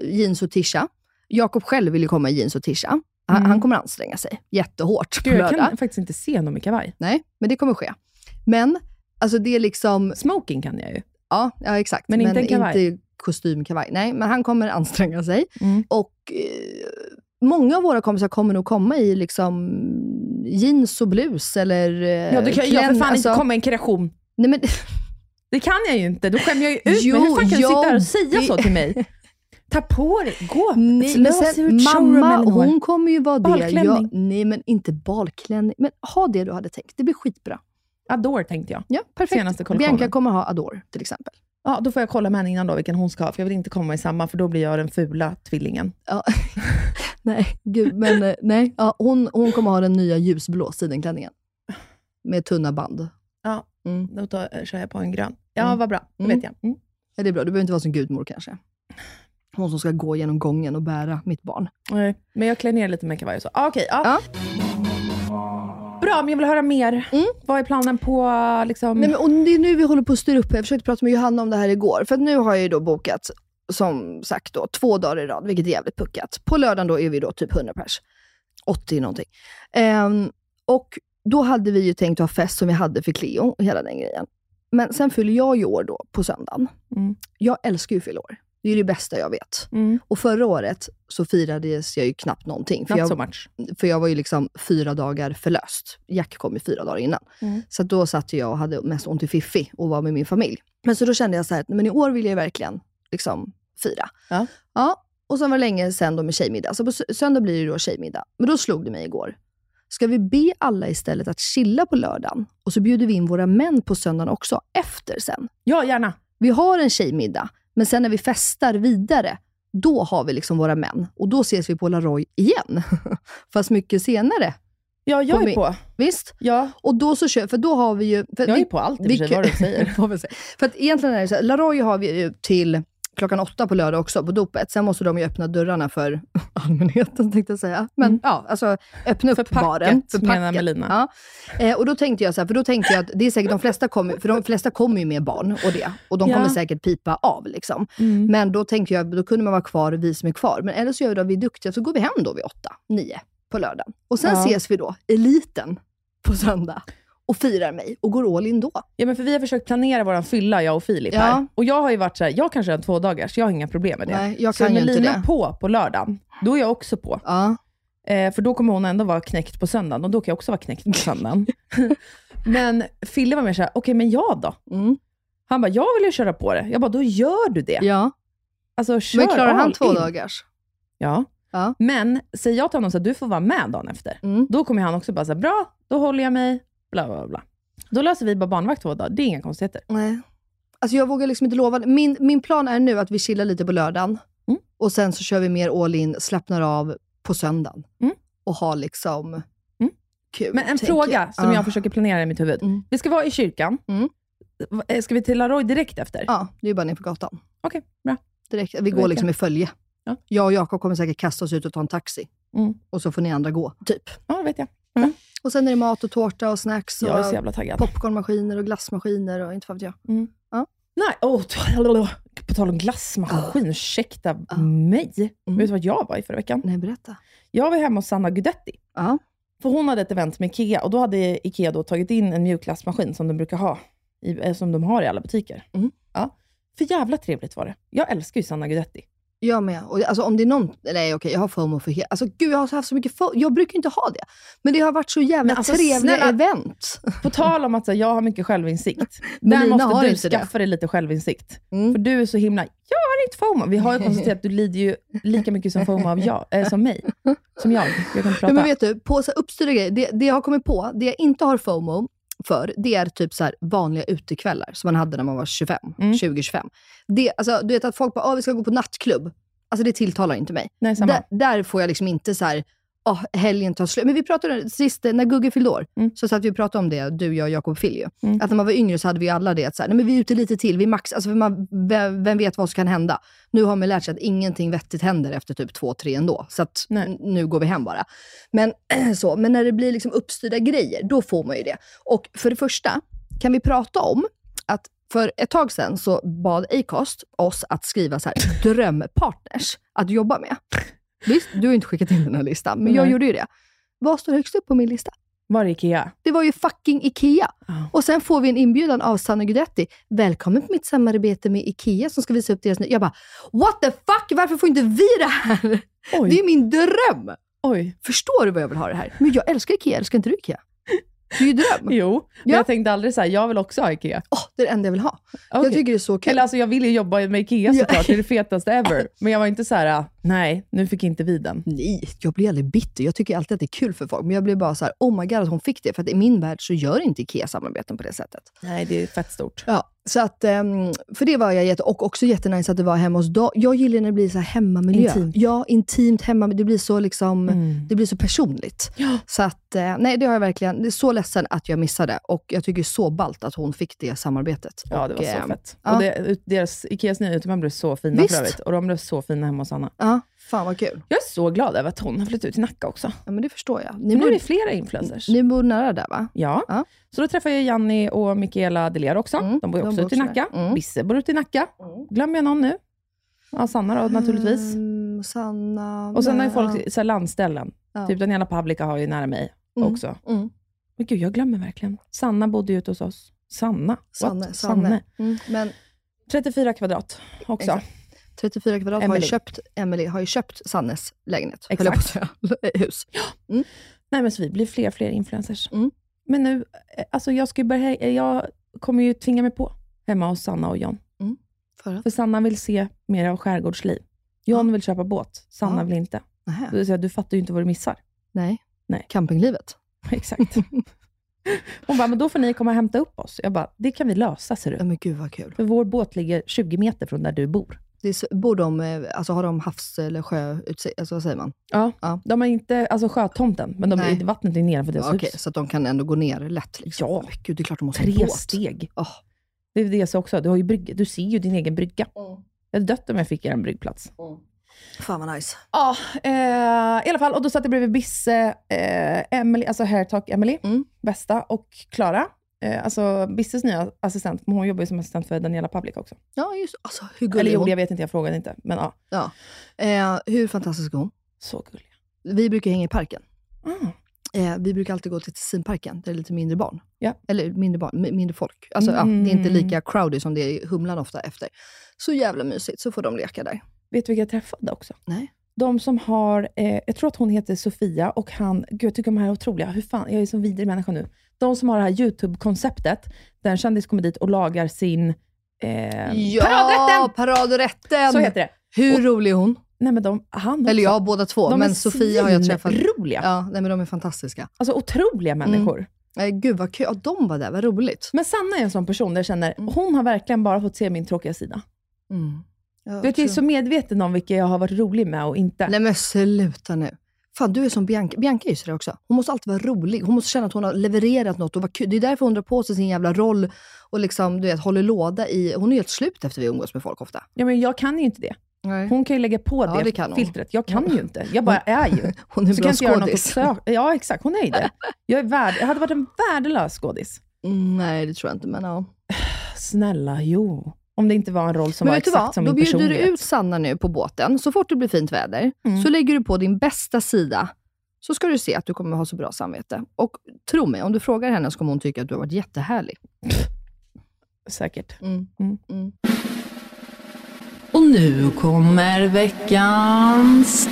[SPEAKER 4] eh, jeans och tisha. Jakob själv vill ju komma i jeans och tisha. Han,
[SPEAKER 5] Mm.
[SPEAKER 4] han kommer anstränga sig jättehårt på
[SPEAKER 5] Gud, jag
[SPEAKER 4] lördag.
[SPEAKER 5] kan faktiskt inte se någon i kavaj.
[SPEAKER 4] Nej, men det kommer ske. Men, alltså det är liksom...
[SPEAKER 5] Smoking kan jag ju.
[SPEAKER 4] Ja, ja exakt.
[SPEAKER 5] Men inte en kavaj.
[SPEAKER 4] Inte kostymkavaj. Nej, men han kommer anstränga sig. Och eh, många av våra kompisar kommer nog komma i liksom jeans och blus eller eh,
[SPEAKER 5] Ja, då kan jag för
[SPEAKER 4] klänn-
[SPEAKER 5] fan
[SPEAKER 4] alltså-
[SPEAKER 5] inte komma i en kreation.
[SPEAKER 4] Nej, men...
[SPEAKER 5] Det kan jag ju inte. Då skämmer jag ju ut
[SPEAKER 4] Jo,
[SPEAKER 5] mig. Hur fan kan du
[SPEAKER 4] jo,
[SPEAKER 5] sitta här och säga
[SPEAKER 4] det-
[SPEAKER 5] så
[SPEAKER 4] (laughs)
[SPEAKER 5] till mig? Ta på dig, gå.
[SPEAKER 4] Nej, men
[SPEAKER 5] lös
[SPEAKER 4] sen,
[SPEAKER 5] ut showroom,
[SPEAKER 4] mamma,
[SPEAKER 5] Elinor.
[SPEAKER 4] hon kommer ju vara det.
[SPEAKER 5] Balklänning.
[SPEAKER 4] Jag, nej, men inte balklänning. Men ha det du hade tänkt. Det blir skitbra.
[SPEAKER 5] Adore tänkte jag.
[SPEAKER 4] Ja, perfekt.
[SPEAKER 5] Senaste kollektionen.
[SPEAKER 4] Bianca kommer ha Adore, till exempel.
[SPEAKER 5] Ja, då får jag kolla med henne innan då vilken hon ska ha, för jag vill inte komma i samma, för då blir jag den fula tvillingen. (laughs)
[SPEAKER 4] Ja. (laughs) nej, gud, men eh, nej. Ja, hon, hon kommer ha den nya ljusblå sidenklänningen. Med tunna band.
[SPEAKER 5] Ja, då tar, kör jag på en grön. Ja,
[SPEAKER 4] Mm.
[SPEAKER 5] vad bra. Det vet jag. Mm.
[SPEAKER 4] Ja, det är bra. Du behöver inte vara som gudmor kanske. Hon som ska gå genom gången och bära mitt barn.
[SPEAKER 5] Nej, men jag klär ner lite med kavaj och så. Ah, Okej, ja. Bra, men jag vill höra mer. Vad är planen på... Liksom...
[SPEAKER 4] Mm. Nej, men, och det är nu vi håller på att styra upp. Jag försökte prata med Johanna om det här igår. För att nu har jag ju då bokat, som sagt, då, två dagar i rad, vilket är jävligt puckat. På lördagen då är vi då typ 100 pers. 80 någonting. Ehm, och då hade vi ju tänkt ha fest som vi hade för Cleo, och hela den grejen. Men sen fyller jag ju år då, på söndagen. Jag älskar ju att fylla år. Det är ju det bästa jag vet.
[SPEAKER 5] Mm.
[SPEAKER 4] Och förra året så firades jag ju knappt någonting. För
[SPEAKER 5] Not
[SPEAKER 4] jag,
[SPEAKER 5] so much.
[SPEAKER 4] för jag var ju liksom fyra dagar förlöst. Jack kom ju fyra dagar innan.
[SPEAKER 5] Mm.
[SPEAKER 4] Så att då satt jag och hade mest ont i fiffi och var med min familj. Men så då kände jag så här, att, men i år vill jag verkligen liksom fira.
[SPEAKER 5] Ja.
[SPEAKER 4] ja. Och sen var det länge sen då med tjejmiddag. Så på sö- söndag blir det då tjejmiddag. Men då slog det mig igår. Ska vi be alla istället att chilla på lördagen och så bjuder vi in våra män på söndagen också, efter sen?
[SPEAKER 5] Ja, gärna.
[SPEAKER 4] Vi har en tjejmiddag, men sen när vi festar vidare, då har vi liksom våra män. Och då ses vi på Laroy igen. (laughs) Fast mycket senare.
[SPEAKER 5] Ja, jag är
[SPEAKER 4] min-
[SPEAKER 5] på.
[SPEAKER 4] Visst?
[SPEAKER 5] Ja.
[SPEAKER 4] Och då så kör, för då har vi ju... För
[SPEAKER 5] Jag är
[SPEAKER 4] vi-
[SPEAKER 5] på allt i och för
[SPEAKER 4] vi-
[SPEAKER 5] sig, vad du säger.
[SPEAKER 4] (laughs) får väl säga. För att egentligen är det så här, Laroy har vi ju till klockan åtta på lördag också, på dopet. Sen måste de ju öppna dörrarna för (laughs) allmänheten, tänkte jag säga. Men
[SPEAKER 5] Mm.
[SPEAKER 4] ja, alltså öppna upp baren.
[SPEAKER 5] menar Melina.
[SPEAKER 4] Ja. Eh, och då tänkte jag så här, för då tänkte jag att det är säkert de flesta kommer, för de flesta kommer ju med barn och det. Och de
[SPEAKER 5] Ja.
[SPEAKER 4] kommer säkert pipa av liksom.
[SPEAKER 5] Mm.
[SPEAKER 4] Men då tänkte jag, då kunde man vara kvar, vi som är kvar. Men eller så gör vi då, vi är duktiga, så går vi hem då vid åtta, nio på lördagen. Och sen
[SPEAKER 5] Ja.
[SPEAKER 4] ses vi då, eliten, på söndag. Och firar mig och går all in då.
[SPEAKER 5] Ja, men för vi har försökt planera vår fylla, jag och Filip
[SPEAKER 4] Ja.
[SPEAKER 5] här. Och jag har ju varit så här, jag kanske har två dagar, så jag har inga problem med det.
[SPEAKER 4] Nej, jag
[SPEAKER 5] så
[SPEAKER 4] kan
[SPEAKER 5] är
[SPEAKER 4] ju inte
[SPEAKER 5] Melina
[SPEAKER 4] det.
[SPEAKER 5] på på lördagen, då är jag också på. Eh, för då kommer hon ändå vara knäckt på söndagen, och då kan jag också vara knäckt
[SPEAKER 4] (laughs)
[SPEAKER 5] på söndagen. men Fille var mer såhär, okej men jag då? Han bara, jag vill ju köra på det. Jag bara, då gör du det.
[SPEAKER 4] Mm. Ja.
[SPEAKER 5] Alltså kör
[SPEAKER 4] Men klarar han
[SPEAKER 5] all
[SPEAKER 4] två
[SPEAKER 5] in.
[SPEAKER 4] dagars?
[SPEAKER 5] Ja. Men säger jag till honom så att du får vara med dagen efter,
[SPEAKER 4] Mm.
[SPEAKER 5] då kommer han också bara säga bra, då håller jag mig, bla bla bla. Då löser vi bara barnvakt två dagar, det är inga konstigheter.
[SPEAKER 4] Nej. Alltså jag vågar liksom inte lova. det. Min, min plan är nu att vi chillar lite på lördagen
[SPEAKER 5] Mm.
[SPEAKER 4] och sen så kör vi mer all in, slappnar av på söndagen och har liksom kul.
[SPEAKER 5] Mm. Men en
[SPEAKER 4] tänker
[SPEAKER 5] fråga
[SPEAKER 4] jag. Ah. Mm.
[SPEAKER 5] som
[SPEAKER 4] Ja.
[SPEAKER 5] jag försöker planera i mitt huvud. Vi ska vara i kyrkan. Va- eh, Ska vi till Laroy direkt efter?
[SPEAKER 4] Mm. Ja, det är bara nerför gatan.
[SPEAKER 5] Okej, bra.
[SPEAKER 4] Direkt, vi går liksom i följe. Jag och Jakob kommer säkert kasta oss ut och ta en taxi.
[SPEAKER 5] Mm.
[SPEAKER 4] Och så får ni andra gå, typ.
[SPEAKER 5] Ja, det vet jag.
[SPEAKER 4] Och sen är det mat och tårta och snacks och
[SPEAKER 5] Jag är så jävla taggad.
[SPEAKER 4] popcornmaskiner och glassmaskiner och inte fan vet jag.
[SPEAKER 5] Mm. Nej, oh, t- (laughs) på tal om glassmaskin,
[SPEAKER 4] Ah.
[SPEAKER 5] ursäkta mig.
[SPEAKER 4] Mm.
[SPEAKER 5] Vet du vad jag var i förra veckan?
[SPEAKER 4] Nej, berätta.
[SPEAKER 5] Jag var hemma hos Sanna Gudetti. För hon hade ett event med IKEA och då hade IKEA då tagit in en mjukglassmaskin som de brukar ha, i, eh, som de har i alla butiker.
[SPEAKER 4] Mm.
[SPEAKER 5] Ja. För jävla trevligt var det. Jag älskar ju Sanna Gudetti.
[SPEAKER 4] Jag med. Och, alltså, om det är någon... Nej, okej, jag har FOMO för hela... Alltså, gud, jag har haft så mycket FOMO. Jag brukar inte ha det. Men det har varit så jävla
[SPEAKER 5] Men alltså,
[SPEAKER 4] trevliga
[SPEAKER 5] snälla-
[SPEAKER 4] event. (laughs)
[SPEAKER 5] På tal om att så, här, jag har mycket självinsikt.
[SPEAKER 4] Men
[SPEAKER 5] Där
[SPEAKER 4] Lina har
[SPEAKER 5] måste du
[SPEAKER 4] inte det. Mm.
[SPEAKER 5] skaffa dig lite självinsikt. För du är så himla, jag har inte FOMO. Vi har ju konstaterat att du lider ju lika mycket som FOMO av jag, eh, som mig. Som jag. Jag kan inte
[SPEAKER 4] Ja,
[SPEAKER 5] prata.
[SPEAKER 4] men vet du, på så här uppstyrda grejer, det, det jag har kommit på, det jag inte har FOMO för, det är typ så här vanliga utekvällar som man hade när man var 25,
[SPEAKER 5] Mm.
[SPEAKER 4] 20-25. Det, alltså, du vet att folk bara, "Ah, vi ska gå på nattklubb. Alltså det tilltalar inte mig.
[SPEAKER 5] Nej, samma.
[SPEAKER 4] Där, där får jag liksom inte så här, "Ah, helgen tar slut. Men vi pratade sist, eh, när Gugge fyllde år,
[SPEAKER 5] Mm.
[SPEAKER 4] så satt vi och pratade om det, du, jag och Jakob Filj. ju. Att när man var yngre så hade vi ju alla det, att så här, nej men vi är ute lite till, vi max, alltså för man, vem, vem vet vad som kan hända. Nu har man lärt sig att ingenting vettigt händer efter typ två, tre ändå, så att n- nu går vi hem bara. Men, (clears throat) så, men när det blir liksom uppstyrda grejer, då får man ju det. Och för det första, kan vi prata om att för ett tag sedan så bad Acast oss att skriva så
[SPEAKER 5] (laughs)
[SPEAKER 4] här, drömpartners att jobba med. Visst, du har inte skickat in den här listan, men jag
[SPEAKER 5] Nej.
[SPEAKER 4] gjorde ju det. Vad står högst upp på min lista?
[SPEAKER 5] Var är IKEA?
[SPEAKER 4] Det var ju fucking IKEA. Och sen får vi en inbjudan av Sanna Gudetti. Välkommen på mitt samarbete med IKEA som ska visa upp deras nya... Jag bara, what the fuck? Varför får inte vi det här? Det är ju min dröm!
[SPEAKER 5] Oj.
[SPEAKER 4] Förstår du vad jag vill ha det här? Men jag älskar IKEA, älskar inte du IKEA? Det är ju dröm.
[SPEAKER 5] (laughs) Jo, men jag tänkte aldrig så här, jag vill också ha IKEA.
[SPEAKER 4] Det är det enda jag vill ha.
[SPEAKER 5] Okej.
[SPEAKER 4] Jag tycker det är så kul.
[SPEAKER 5] Eller alltså jag vill ju jobba med
[SPEAKER 4] Ja.
[SPEAKER 5] IKEA såklart, det är det
[SPEAKER 4] (laughs)
[SPEAKER 5] fetaste ever. Men jag var inte så här, nej, nu fick inte vi den.
[SPEAKER 4] Nej, jag blir aldrig bitter. Jag tycker alltid att det är kul för folk, men jag blir bara så här, oh my god att hon fick det. För att i min värld så gör inte IKEA samarbeten på det sättet.
[SPEAKER 5] Nej, det är fett stort.
[SPEAKER 4] Ja, Så att, ehm, för det var jag jätte... Och också jättenice att det var hemma hos dem. Jag gillar när det blir så här hemmamiljö.
[SPEAKER 11] Intimt.
[SPEAKER 4] Ja, intimt hemma. Det blir så liksom,
[SPEAKER 11] Mm.
[SPEAKER 4] det blir så personligt. Så att, eh, nej, det har jag verkligen... Det är så ledsen att jag missade. Och jag tycker så ballt att hon fick det samarbetet.
[SPEAKER 5] Ja, det
[SPEAKER 4] Och,
[SPEAKER 5] var så
[SPEAKER 4] ehm,
[SPEAKER 5] fett.
[SPEAKER 4] Ja,
[SPEAKER 5] Och det, ut- deras, Ikeas nya utemän blev så fina
[SPEAKER 4] Visst.
[SPEAKER 5] för övrigt. Och de blev så fina hemma hos Anna.
[SPEAKER 4] ja, fan vad kul.
[SPEAKER 5] Jag är så glad över att hon har flyttat ut till Nacka också.
[SPEAKER 4] Ja, men det förstår jag.
[SPEAKER 5] nu
[SPEAKER 4] bor-
[SPEAKER 5] är det flera influencers.
[SPEAKER 4] Ni bor nära där va?
[SPEAKER 5] Ja. Så då träffade jag Janni och Mikaela Deler också. de bor ju
[SPEAKER 4] Mm. de
[SPEAKER 5] också
[SPEAKER 4] bor
[SPEAKER 5] ute i
[SPEAKER 4] också Mm.
[SPEAKER 5] Nacka. Bisse bor ute i Nacka. Glömmer jag någon nu? Ja, Sanna då naturligtvis.
[SPEAKER 4] Mm, Sanna...
[SPEAKER 5] och sen har ju
[SPEAKER 4] nej,
[SPEAKER 5] folk så här, landställen.
[SPEAKER 4] Ja.
[SPEAKER 5] Typ Daniela Pavlika har ju nära mig
[SPEAKER 4] Mm,
[SPEAKER 5] också.
[SPEAKER 4] mm.
[SPEAKER 5] Men gud, jag glömmer verkligen. Sanna bodde ju ute hos oss. Sanna? What?
[SPEAKER 4] Sanne. Sanne. Mm, men
[SPEAKER 5] 34 kvadrat också.
[SPEAKER 4] Exakt. 34 kvadrat har ju,
[SPEAKER 5] Emily.
[SPEAKER 4] köpt, Emily har ju köpt Sannes lägenhet. höll jag på att
[SPEAKER 5] Exakt.
[SPEAKER 4] (laughs) hus.
[SPEAKER 5] Nej, men så vi blir fler och fler influencers.
[SPEAKER 4] Mm.
[SPEAKER 5] Men nu, eh, alltså jag, ska ju börja, eh, jag kommer ju tvinga mig på hemma hos Sanna och John.
[SPEAKER 4] För,
[SPEAKER 5] Sanna vill se mer av skärgårdsliv. John vill köpa båt, Sanna
[SPEAKER 4] Ja.
[SPEAKER 5] vill inte.
[SPEAKER 4] Nähä.
[SPEAKER 5] Det vill säga, du fattar ju inte vad du missar. (laughs)
[SPEAKER 4] Nej.
[SPEAKER 5] Nej.
[SPEAKER 4] Campinglivet. (laughs)
[SPEAKER 5] Exakt. Hon bara, men då får ni komma och hämta upp oss. Jag bara, det kan vi lösa ser du.
[SPEAKER 4] men gud vad kul.
[SPEAKER 5] För vår båt ligger 20 meter från där du bor.
[SPEAKER 4] Det är så, bor de, eh, alltså har de havs eller sjöutsikt? Alltså vad säger man?
[SPEAKER 5] Ja, de har inte, alltså sjötomten, men de,
[SPEAKER 4] Nej.
[SPEAKER 5] vattnet är nedanför deras
[SPEAKER 4] Ja, Okej,
[SPEAKER 5] hus.
[SPEAKER 4] så att de kan ändå gå ner lätt? Liksom.
[SPEAKER 5] Ja.
[SPEAKER 4] Men gud, det är klart de måste ha
[SPEAKER 5] Tre
[SPEAKER 4] båt.
[SPEAKER 5] steg. Det är det jag sa också, du, har ju brygg, du ser ju din egen brygga.
[SPEAKER 4] Mm.
[SPEAKER 5] Jag hade dött om jag fick er en bryggplats.
[SPEAKER 4] Fan vad nice.
[SPEAKER 5] Ja, eh, i alla fall. Och då satt jag bredvid Bisse, eh, Emily, alltså Hairtalk Emily,
[SPEAKER 4] Mm.
[SPEAKER 5] bästa, och Klara. Eh, alltså Bisses nya assistent, men hon jobbar ju som assistent för Daniela Pavlik också.
[SPEAKER 4] Ja, just alltså, hur gullig
[SPEAKER 5] Eller
[SPEAKER 4] är
[SPEAKER 5] gjorde,
[SPEAKER 4] hon?
[SPEAKER 5] jag vet inte, jag frågade inte. Men ja.
[SPEAKER 4] Ja. Eh, hur fantastisk är hon?
[SPEAKER 5] Så gullig.
[SPEAKER 4] Vi brukar hänga i parken.
[SPEAKER 5] Ah.
[SPEAKER 4] Eh, vi brukar alltid gå till Tessinparken, där det är lite mindre barn.
[SPEAKER 5] Ja.
[SPEAKER 4] Eller mindre barn, mi- mindre folk. Alltså, ja, det är inte
[SPEAKER 5] Mm.
[SPEAKER 4] lika crowdy som det är i Humlan ofta efter. Så jävla mysigt, så får de leka där.
[SPEAKER 5] Vet du vilka jag träffade också?
[SPEAKER 4] Nej.
[SPEAKER 5] De som har, eh, jag tror att hon heter Sofia och han, gud jag tycker de här är otroliga, hur fan, jag är som vidrig människa nu. De som har det här YouTube-konceptet, där en kändis kommer dit och lagar sin eh,
[SPEAKER 4] Ja,
[SPEAKER 5] paradrätten!
[SPEAKER 4] paradrätten!
[SPEAKER 5] Så heter det.
[SPEAKER 4] Hur rolig är hon?
[SPEAKER 5] Nej, men de, han också.
[SPEAKER 4] Eller jag, båda två.
[SPEAKER 5] De är
[SPEAKER 4] men Sofia har jag träffat.
[SPEAKER 5] svinroliga.
[SPEAKER 4] Ja, Mm. nej, men de är fantastiska.
[SPEAKER 5] Alltså otroliga människor.
[SPEAKER 4] Nej, gud vad kul. Ja, de var där, vad roligt.
[SPEAKER 5] Men Sanna är en sån person där jag känner, hon har verkligen bara fått se min tråkiga sida.
[SPEAKER 4] Mm. Ja,
[SPEAKER 5] du vet, jag är
[SPEAKER 4] tror-
[SPEAKER 5] så medveten om vilka jag har varit rolig med och inte.
[SPEAKER 4] Nej men sluta nu. Fan, du är som Bianca. Bianca är ju sådär också. Hon måste alltid vara rolig. Hon måste känna att hon har levererat något. Och vad kul. Det är därför hon drar på sig sin jävla roll och liksom, du vet, håller låda i... Hon är helt slut efter vi umgås med folk ofta.
[SPEAKER 5] Ja, men jag kan ju inte det.
[SPEAKER 4] Nej.
[SPEAKER 5] Mm. Hon kan ju lägga på
[SPEAKER 4] Ja,
[SPEAKER 5] det,
[SPEAKER 4] det kan hon.
[SPEAKER 5] filtret. Jag kan ju inte. Jag (laughs) bara är ju.
[SPEAKER 4] Hon är
[SPEAKER 5] så
[SPEAKER 4] bra
[SPEAKER 5] kan jag inte göra något åt
[SPEAKER 4] skådis.
[SPEAKER 5] sö- Ja, exakt. Hon är ju det. Jag, är värd, jag hade varit en värdelös skådis.
[SPEAKER 4] Mm, Nej, det tror jag inte, men ja.
[SPEAKER 5] Snälla, jo. Om det inte var en roll som
[SPEAKER 4] men
[SPEAKER 5] var
[SPEAKER 4] vet du
[SPEAKER 5] exakt
[SPEAKER 4] vad?
[SPEAKER 5] som
[SPEAKER 4] Då
[SPEAKER 5] min
[SPEAKER 4] bjuder du
[SPEAKER 5] personlighet. Mm.
[SPEAKER 4] ut Sanna nu på båten. Så fort det blir fint väder så lägger du på din bästa sida. Så ska du se att du kommer ha så bra samvete. Och tro mig, om du frågar henne så kommer hon tycka att du har varit jättehärlig.
[SPEAKER 5] Säkert.
[SPEAKER 12] Och nu kommer veckans...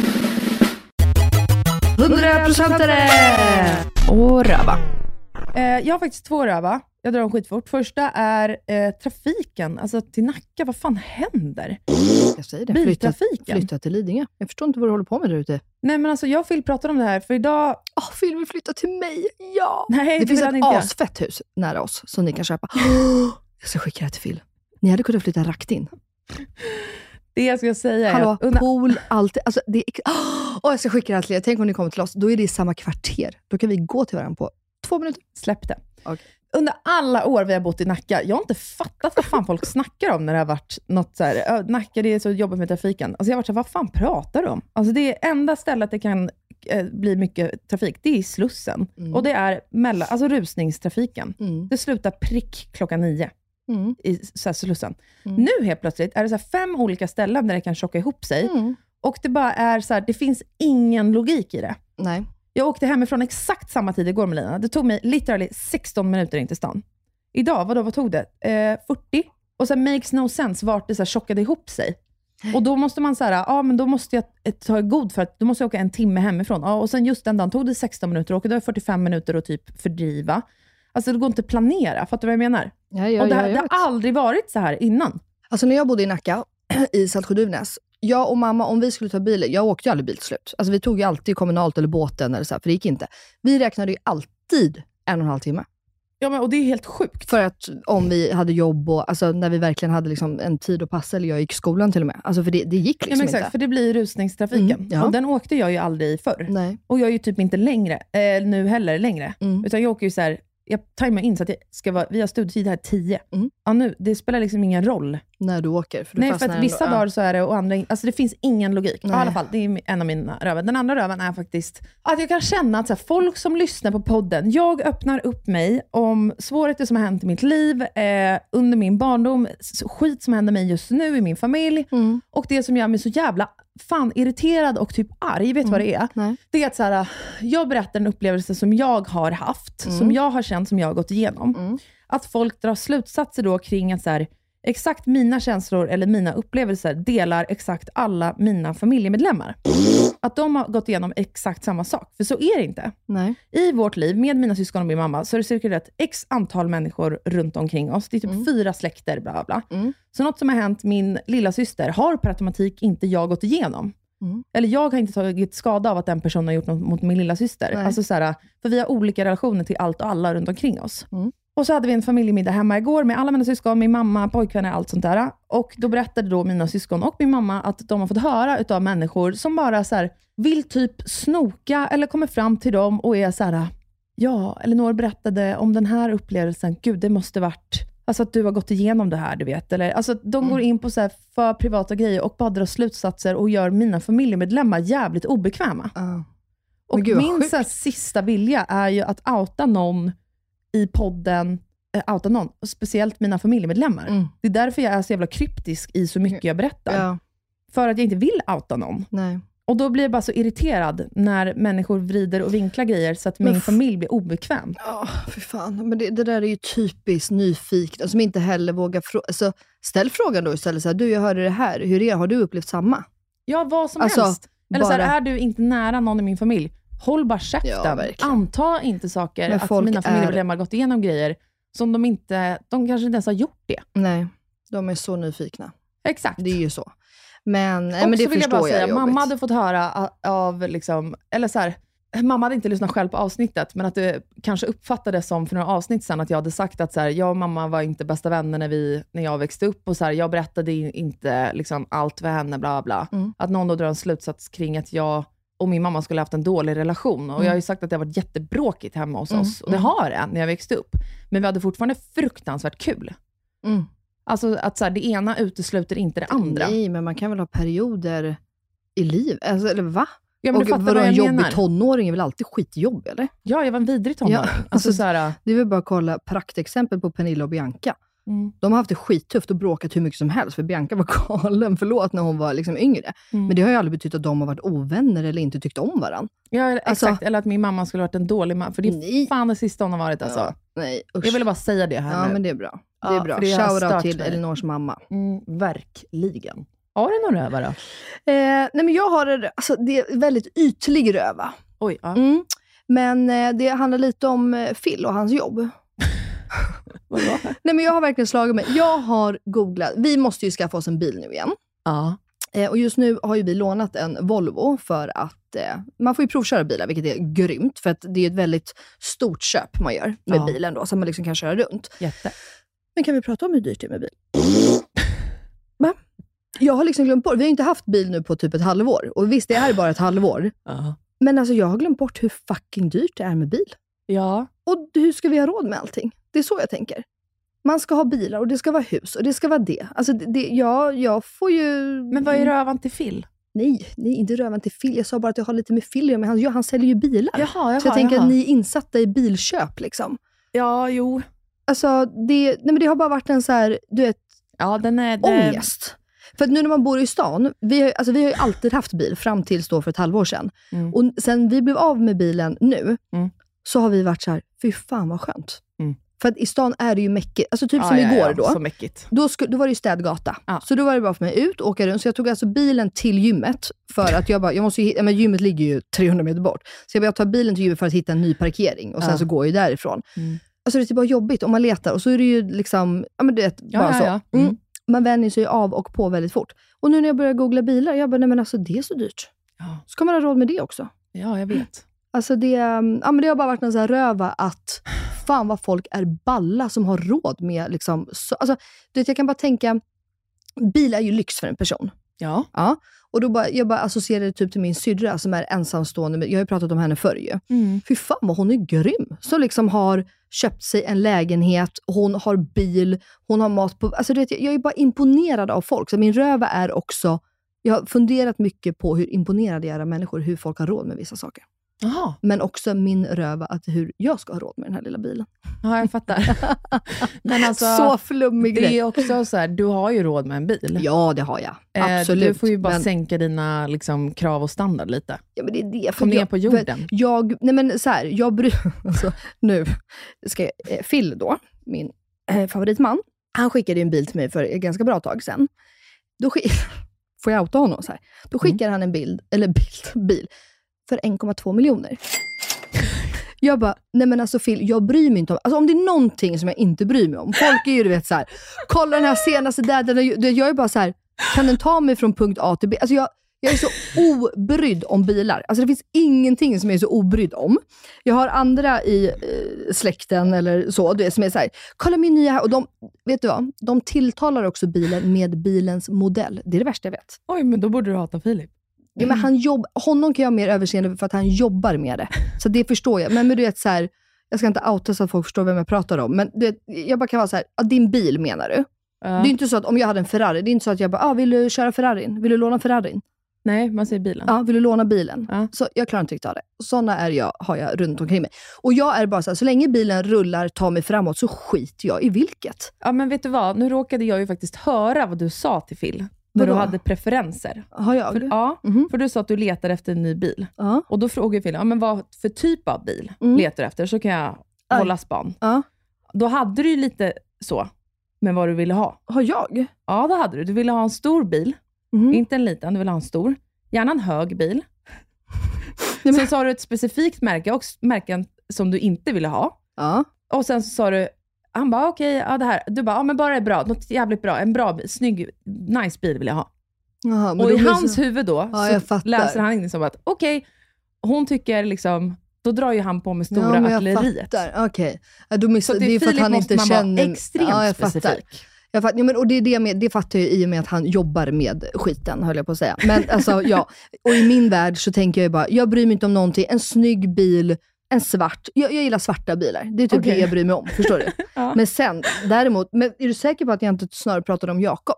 [SPEAKER 4] 100%are!
[SPEAKER 5] Och röva. Eh, jag har faktiskt två röva. Jag drar dem skitfort. Första är eh, trafiken. Alltså till Nacka, vad fan händer?
[SPEAKER 4] Jag säger det. Flytta,
[SPEAKER 5] Biltrafiken.
[SPEAKER 4] flytta till Lidingö. Jag förstår inte vad du håller på med där ute.
[SPEAKER 5] Nej men alltså jag och Phil pratade om det här, för idag...
[SPEAKER 4] Åh, Phil vill flytta till mig! Ja!
[SPEAKER 5] Nej,
[SPEAKER 4] det finns
[SPEAKER 5] vill han
[SPEAKER 4] ett
[SPEAKER 5] inte göra.
[SPEAKER 4] asfett hus nära oss som ni kan
[SPEAKER 5] (gasps)
[SPEAKER 4] köpa. Jag ska skicka det till Phil. Ni hade kunnat flytta rakt in.
[SPEAKER 5] Det jag ska säga är
[SPEAKER 4] Hallå,
[SPEAKER 5] att under-
[SPEAKER 4] pool, allt. Alltså, det är, (gasps) ex- Åh, jag ska skicka det här till er. Tänk om ni kommer till oss. Då är det i samma kvarter. Då kan vi gå till varandra på två minuter.
[SPEAKER 5] Släpp det. Under alla år vi har bott i Nacka, jag har inte fattat vad fan folk snackar om när det har varit något så här, "Ö, Nacka det är så jobbigt med trafiken. Alltså jag har varit så här, vad fan pratar de om? Alltså det är enda stället det kan eh, bli mycket trafik, det är i Slussen. Och det är mellan, alltså rusningstrafiken. Det slutar prick klockan nio i så här, Slussen. Nu helt plötsligt är det så här fem olika ställen där det kan tjocka ihop sig. Och det bara är så här, det finns ingen logik i det.
[SPEAKER 4] Nej.
[SPEAKER 5] Jag åkte hemifrån exakt samma tid igår Melina. Det tog mig literally 16 minuter in till stan. Idag, vadå, vad tog det? Eh, 40? Och sen makes no sense vart det så här tjockade ihop sig. Och då måste man säga, ja men då måste jag eh, ta god för att då måste jag åka en timme hemifrån. Ja, och sen just den dagen tog det 16 minuter och idag är det 45 minuter att typ fördriva. Alltså det går inte att planera, fattar du vad jag menar?
[SPEAKER 4] Ja, ja,
[SPEAKER 5] och det,
[SPEAKER 4] ja,
[SPEAKER 5] här,
[SPEAKER 4] jag
[SPEAKER 5] det har aldrig varit så här innan.
[SPEAKER 4] Alltså när jag bodde i Nacka, (clears throat) i Saltsjö-Duvnäs, jag och mamma, om vi skulle ta bilen, jag åkte ju aldrig bil till slut. Alltså vi tog ju alltid kommunalt eller båten, eller så här, för det gick inte. Vi räknade ju alltid en och en halv timme.
[SPEAKER 5] Ja, men, och det är helt sjukt.
[SPEAKER 4] För att om vi hade jobb och alltså, när vi verkligen hade liksom, en tid att passa, eller jag gick i skolan till och med. Alltså, för det, det gick liksom
[SPEAKER 5] ja, men exakt,
[SPEAKER 4] inte. Mm,
[SPEAKER 5] för det blir rusningstrafiken.
[SPEAKER 4] ja.
[SPEAKER 5] Och den åkte jag ju aldrig i förr. Och jag är ju typ inte längre, eh, nu heller längre. Utan jag åker ju så här, jag tajmar in så att jag ska vara, vi har studietid här 10. Ja, nu, det spelar liksom ingen roll.
[SPEAKER 4] När du åker. För du
[SPEAKER 5] Nej, för
[SPEAKER 4] fastnar
[SPEAKER 5] att vissa
[SPEAKER 4] ändå. Ja.
[SPEAKER 5] dagar så är det och andra in- Alltså det finns ingen logik. Ja, I
[SPEAKER 4] Nej.
[SPEAKER 5] alla fall, det är en av mina röven. Den andra röven är faktiskt att jag kan känna att så här, folk som lyssnar på podden, jag öppnar upp mig om svårigheter som har hänt i mitt liv, eh, under min barndom, s- skit som händer mig just nu i min familj
[SPEAKER 4] Mm.
[SPEAKER 5] och det som gör mig så jävla fan irriterad och typ arg. Vet du vad det
[SPEAKER 4] Mm.
[SPEAKER 5] är? Det är att så här, jag berättar en upplevelse som jag har haft,
[SPEAKER 4] Mm.
[SPEAKER 5] som jag har känt, som jag har gått igenom. Att folk drar slutsatser då kring att så här, exakt mina känslor eller mina upplevelser delar exakt alla mina familjemedlemmar. Att de har gått igenom exakt samma sak, för så är det inte.
[SPEAKER 4] Nej.
[SPEAKER 5] I vårt liv, med mina syskon och min mamma, så har det cirkulerat x antal människor runt omkring oss. Det är typ fyra släkter, bla bla, bla. Så något som har hänt min lilla syster har per automatik inte jag gått igenom. Eller jag har inte tagit skada av att den personen har gjort något mot min lilla syster. Alltså så här, för vi har olika relationer till allt och alla runt omkring oss. Och så hade vi en familjemiddag hemma igår med alla mina syskon, min mamma, pojkvänner, allt sånt där. Och då berättade då mina syskon och min mamma att de har fått höra utav människor som bara så här, vill typ snoka eller kommer fram till dem och är så här, ja, Elinor berättade om den här upplevelsen. Gud, det måste varit Alltså att du har gått igenom det här, du vet. Eller, alltså att
[SPEAKER 4] Mm.
[SPEAKER 5] de går in på så här för privata grejer och bara drar slutsatser och gör mina familjemedlemmar jävligt obekväma. Och
[SPEAKER 4] Men gud, vad
[SPEAKER 5] min
[SPEAKER 4] sjukt.
[SPEAKER 5] så här, sista vilja är ju att outa någon i podden, eh, outa någon, och speciellt mina familjemedlemmar. Det är därför jag är så jävla kryptisk i så mycket jag berättar.
[SPEAKER 4] Mm. Ja.
[SPEAKER 5] För att jag inte vill outa någon.
[SPEAKER 4] Nej.
[SPEAKER 5] Och då blir jag bara så irriterad när människor vrider och vinklar grejer så att
[SPEAKER 4] Men
[SPEAKER 5] min
[SPEAKER 4] f-
[SPEAKER 5] familj blir obekväm.
[SPEAKER 4] Ja, för fan. Men det, det där är ju typiskt nyfikt, och som inte heller vågar fråga. Alltså, ställ frågan då istället. Så här, du, jag hörde det här. Hur är det? Har du upplevt samma?
[SPEAKER 5] Ja, vad som
[SPEAKER 4] Alltså,
[SPEAKER 5] helst. Eller så
[SPEAKER 4] bara-
[SPEAKER 5] här, är du inte nära någon i min familj, håll bara käften. Anta inte saker,
[SPEAKER 4] Men
[SPEAKER 5] att
[SPEAKER 4] folk
[SPEAKER 5] mina
[SPEAKER 4] är-
[SPEAKER 5] familjemedlemmar gått igenom grejer som de inte, de kanske inte ens har gjort det.
[SPEAKER 4] Nej, de är så nyfikna.
[SPEAKER 5] Exakt.
[SPEAKER 4] Det är ju så. Men, nej,
[SPEAKER 5] och
[SPEAKER 4] men det
[SPEAKER 5] så vill jag
[SPEAKER 4] förstår
[SPEAKER 5] bara säga,
[SPEAKER 4] är jobbigt.
[SPEAKER 5] mamma hade fått höra a- av, liksom, eller så här, mamma hade inte lyssnat själv på avsnittet, men att det kanske uppfattades som för några avsnitt sedan att jag hade sagt att så här, jag och mamma var inte bästa vänner när, vi, när jag växte upp och så här, jag berättade ju inte liksom, allt för henne, bla bla.
[SPEAKER 4] Mm.
[SPEAKER 5] Att någon då drar en slutsats kring att jag och min mamma skulle haft en dålig relation. Och
[SPEAKER 9] Mm.
[SPEAKER 5] Jag har ju sagt att det har varit jättebråkigt hemma hos
[SPEAKER 9] Mm,
[SPEAKER 5] oss. Och det
[SPEAKER 9] mm.
[SPEAKER 5] har det, när jag växte upp. Men vi hade fortfarande fruktansvärt kul.
[SPEAKER 4] Mm.
[SPEAKER 5] Alltså att så här, det ena utesluter inte det andra.
[SPEAKER 4] Nej, men man kan väl ha perioder i liv? Alltså, eller va?
[SPEAKER 5] Ja, men du fattar
[SPEAKER 4] vadå,
[SPEAKER 5] vad
[SPEAKER 4] en
[SPEAKER 5] jag
[SPEAKER 4] jobbig
[SPEAKER 5] menar.
[SPEAKER 4] tonåring är väl alltid skitjobbig, eller?
[SPEAKER 5] Ja, jag var en vidrig tonåring. (laughs) alltså, så här,
[SPEAKER 4] det är väl bara att kolla praktexempel på Pernilla och Bianca.
[SPEAKER 5] Mm.
[SPEAKER 4] De har haft det skittufft och bråkat hur mycket som helst, för Bianca var (laughs) galen, förlåt, när hon var liksom yngre.
[SPEAKER 5] Mm.
[SPEAKER 4] Men det har ju aldrig betytt att de har varit ovänner eller inte tyckt om varandra.
[SPEAKER 5] Ja, eller-
[SPEAKER 4] Alltså-
[SPEAKER 5] exakt. Eller att min mamma skulle ha varit en dålig mamma. För det är fan det sista hon har varit alltså.
[SPEAKER 4] nej,
[SPEAKER 5] jag ville bara säga det här
[SPEAKER 4] Ja,
[SPEAKER 5] nu.
[SPEAKER 4] men det är bra. Det
[SPEAKER 5] Ja,
[SPEAKER 4] är bra.
[SPEAKER 5] för det har
[SPEAKER 4] Shoutout
[SPEAKER 5] stört
[SPEAKER 4] till
[SPEAKER 5] mig.
[SPEAKER 4] Elinors mamma.
[SPEAKER 5] Mm, verkligen. Har du någon röva då?
[SPEAKER 4] Eh, nej men jag har en alltså, det är en väldigt ytlig röva.
[SPEAKER 5] Oj, ja.
[SPEAKER 4] mm. Men eh, det handlar lite om eh, Phil och hans jobb. nej men jag har verkligen slagit mig. Jag har googlat. Vi måste ju skaffa oss en bil nu igen.
[SPEAKER 5] (laughs) Ja.
[SPEAKER 4] Eh, och just nu har ju vi lånat en Volvo för att eh, man får ju provköra bilar, vilket är grymt. För att det är ett väldigt stort köp man gör med
[SPEAKER 5] Ja.
[SPEAKER 4] bilen då, som man liksom kan köra runt.
[SPEAKER 5] Jätte.
[SPEAKER 4] Men kan vi prata om hur dyrt det är med bil? (laughs) Va? Jag har liksom glömt bort. Vi har inte haft bil nu på typ ett halvår. Och visst, det är bara ett halvår. Men alltså, jag har glömt bort hur fucking dyrt det är med bil.
[SPEAKER 5] Ja.
[SPEAKER 4] Och hur ska vi ha råd med allting? Det är så jag tänker. Man ska ha bilar och det ska vara hus och det ska vara det. Alltså, det, det jag, jag får ju...
[SPEAKER 5] Men vad är rövan till Phil?
[SPEAKER 4] Nej, nej, inte rövan till Phil. Jag sa bara att jag har lite med Phil men han, ja, han säljer ju bilar. så jag tänker att ni är insatta i bilköp. Liksom.
[SPEAKER 5] Ja, jo.
[SPEAKER 4] Alltså, det, nej, men det har bara varit en så här, du vet,
[SPEAKER 5] ja, den är,
[SPEAKER 4] det... ångest. Eh. För att nu när man bor i stan, vi har, alltså, vi har ju alltid haft bil fram tills då för ett halvår sedan.
[SPEAKER 5] Mm.
[SPEAKER 4] Och sen vi blev av med bilen nu, så har vi varit så här, fy fan vad skönt. För att i stan är det ju mäckigt. Alltså typ
[SPEAKER 5] Mm. Ja,
[SPEAKER 4] som
[SPEAKER 5] ja,
[SPEAKER 4] igår
[SPEAKER 5] ja,
[SPEAKER 4] då.
[SPEAKER 5] Så mäckigt.
[SPEAKER 4] Då, sku, då var det ju städgata. Så då var det bara för mig ut, åka runt. Så jag tog alltså bilen till gymmet. För att jag bara, jag måste ju, hitta- men gymmet ligger ju 300 meter bort. Så jag bara, jag tar bilen till gymmet för att hitta en ny parkering. Och sen
[SPEAKER 5] Ja. Mm.
[SPEAKER 4] så går jag ju därifrån. Alltså det är typ bara jobbigt om man letar. Och så är det ju liksom, ja men du vet,
[SPEAKER 5] Ja,
[SPEAKER 4] bara
[SPEAKER 5] ja,
[SPEAKER 4] så.
[SPEAKER 5] ja.
[SPEAKER 4] Mm. Man vänjer sig ju av och på väldigt fort. Och nu när jag börjar googla bilar, jag bara, nej men alltså det är så dyrt. Ska man ha råd med det också? mm,
[SPEAKER 5] Ja, jag vet.
[SPEAKER 4] Alltså det, um, ja, men det har bara varit en sån här röva att fan vad folk är balla som har råd med... Liksom, så, alltså, du vet, jag kan bara tänka, bil är ju lyx för en person.
[SPEAKER 5] Ja.
[SPEAKER 4] ja. Och då bara, jag bara associerar det typ till min syrra som är ensamstående. men Jag har ju pratat om henne förr ju.
[SPEAKER 5] Mm.
[SPEAKER 4] Fy fan vad hon är grym. Som liksom har köpt sig en lägenhet, hon har bil, hon har mat på... Alltså, du vet, jag jag är bara imponerad av folk. Så min röva är också... Jag har funderat mycket på hur imponerad jag är av människor, hur folk har råd med vissa saker.
[SPEAKER 5] Jaha.
[SPEAKER 4] Men också min röva att hur jag ska ha råd med den här lilla bilen.
[SPEAKER 5] Ja,
[SPEAKER 4] (laughs)
[SPEAKER 5] jag fattar. Men alltså,
[SPEAKER 4] Så flummig
[SPEAKER 5] Det
[SPEAKER 4] grej.
[SPEAKER 5] är också så här, du har ju råd med en bil.
[SPEAKER 4] Ja, det har jag.
[SPEAKER 5] Eh,
[SPEAKER 4] Absolut,
[SPEAKER 5] Du får ju bara
[SPEAKER 4] men-
[SPEAKER 5] sänka dina liksom, krav och standard lite.
[SPEAKER 4] Ja, men det är det. för
[SPEAKER 5] Kom ner
[SPEAKER 4] jag-
[SPEAKER 5] på jorden.
[SPEAKER 4] för Jag, nej men så här, jag bryr... (laughs) Alltså, nu ska jag, eh, Phil då, min eh, favoritman, han skickade ju en bild till mig för ett ganska bra tag sedan. Då skick, (laughs) får jag outa honom? Så här.
[SPEAKER 5] Mm.
[SPEAKER 4] Då skickar han en bild, eller bild, (laughs) bil, för 1,2 miljoner. Jag bara, nej men alltså Phil, jag bryr mig inte om... Alltså om det är någonting som jag inte bryr mig om. Folk är ju du vet så här, kolla den här senaste där, den är, ju- det- jag är bara så här, kan den ta mig från punkt A till B? Alltså jag, jag är så obrydd om bilar. Alltså det finns ingenting som jag är så obrydd om. Jag har andra i eh, släkten eller så, du vet, som är så här, kolla min nya här. Och de, vet du vad? De tilltalar också bilen med bilens modell. Det är det värsta jag vet.
[SPEAKER 5] Oj, men då borde du hata Filip.
[SPEAKER 4] Ja, men han jobb, honom kan jag ha mer överseende för att han jobbar med det. Så det förstår jag. Men, men du vet, så här, jag ska inte outa så att folk förstår vem jag pratar om, men du vet, jag bara kan vara så här, "Ah, din bil menar du? Det är inte så att om jag hade en Ferrari, det är inte så att jag bara, ah, vill du köra Ferrarin? Vill du låna Ferrarin?
[SPEAKER 5] Nej, man säger bilen.
[SPEAKER 4] Ja, vill du låna bilen? Så jag klarar inte riktigt av det. Sådana är jag, har jag runt omkring mig. Och jag är bara så här, så länge bilen rullar, tar mig framåt, så skiter jag i vilket.
[SPEAKER 5] Ja, men vet du vad? Nu råkade jag ju faktiskt höra vad du sa till Phil. När
[SPEAKER 4] Vadå? Mhm.
[SPEAKER 5] du hade preferenser.
[SPEAKER 4] Har jag?
[SPEAKER 5] För, ja, för du sa att du letar efter en ny bil. Och då frågade Phil, ja, men vad för typ av bil letar du efter? Så kan jag
[SPEAKER 4] Mm. Aj.
[SPEAKER 5] hålla span.
[SPEAKER 4] Ja.
[SPEAKER 5] Då hade du ju lite så, men vad du ville ha.
[SPEAKER 4] Har jag?
[SPEAKER 5] Ja, det hade du. Du ville ha en stor bil.
[SPEAKER 4] Mm.
[SPEAKER 5] Inte en liten, du ville ha en stor. Gärna en hög
[SPEAKER 4] (laughs)
[SPEAKER 5] bil. Sen sa du ett specifikt märke, och s- märken som du inte ville ha. Och sen så sa du, han bara okej, ja, det här. Du bara, ja men bara det är bra. Något jävligt bra. En bra, bil, snygg, nice bil vill jag ha.
[SPEAKER 4] Jaha, men
[SPEAKER 5] och
[SPEAKER 4] då
[SPEAKER 5] i
[SPEAKER 4] blir det
[SPEAKER 5] hans
[SPEAKER 4] så-
[SPEAKER 5] huvud då,
[SPEAKER 4] Ja, jag
[SPEAKER 5] så
[SPEAKER 4] fattar.
[SPEAKER 5] läser han in det som att, okej, hon tycker liksom, då drar ju han på med stora
[SPEAKER 4] ja, men jag
[SPEAKER 5] artilleriet.
[SPEAKER 4] Fattar. Okej. Ja, då miss,
[SPEAKER 5] Så
[SPEAKER 4] det,
[SPEAKER 5] till
[SPEAKER 4] är för att
[SPEAKER 5] Filip
[SPEAKER 4] han
[SPEAKER 5] måste
[SPEAKER 4] inte
[SPEAKER 5] man vara
[SPEAKER 4] känner...
[SPEAKER 5] extremt
[SPEAKER 4] ja, jag Fattar.
[SPEAKER 5] specifik.
[SPEAKER 4] Jag fattar. Ja, men, och det, är det, med, det fattar jag i och med att han jobbar med skiten, höll jag på att säga. Men alltså, ja. Och i min värld så tänker jag ju bara, jag bryr mig inte om någonting. En snygg bil, en svart. Jag, jag gillar svarta bilar. Det är typ
[SPEAKER 5] Okej.
[SPEAKER 4] det jag bryr mig om.
[SPEAKER 5] (laughs)
[SPEAKER 4] Förstår du? Men sen, däremot, men är du säker på att jag inte snarare pratade om Jakob?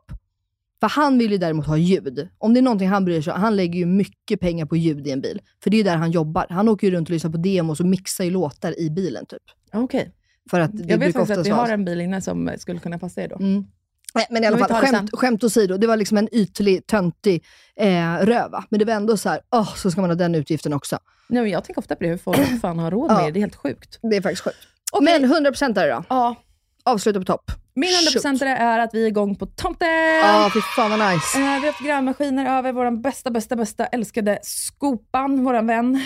[SPEAKER 4] För han vill ju däremot ha ljud. Om det är någonting han bryr sig om, han lägger ju mycket pengar på ljud i en bil. För det är ju där han jobbar. Han åker ju runt och lyssnar på demos och mixar ju låtar i bilen typ.
[SPEAKER 5] Okej.
[SPEAKER 4] För att det
[SPEAKER 5] Jag
[SPEAKER 4] brukar
[SPEAKER 5] vet faktiskt att
[SPEAKER 4] oftast
[SPEAKER 5] vi har
[SPEAKER 4] vara...
[SPEAKER 5] en bil inne som skulle kunna passa er då.
[SPEAKER 4] Nej, Men i alla
[SPEAKER 5] Men vi
[SPEAKER 4] fall,
[SPEAKER 5] tar det
[SPEAKER 4] skämt, skämt åsido, det var liksom en ytlig, töntig eh, röva. Men det var ändå så här, åh, så ska man ha den utgiften också.
[SPEAKER 5] Nej, men jag tänker ofta på det, hur (clears throat) folk fan har råd med det. Det är helt sjukt.
[SPEAKER 4] Det är faktiskt sjukt. Men 100% där då.
[SPEAKER 5] Ja.
[SPEAKER 4] Avsluta på topp.
[SPEAKER 5] Min 100% är att vi är igång på tomten!
[SPEAKER 4] Ja, fy fan vad nice.
[SPEAKER 5] Eh, Vi har haft grävmaskiner över, vår bästa, bästa, bästa älskade Skopan, vår vän,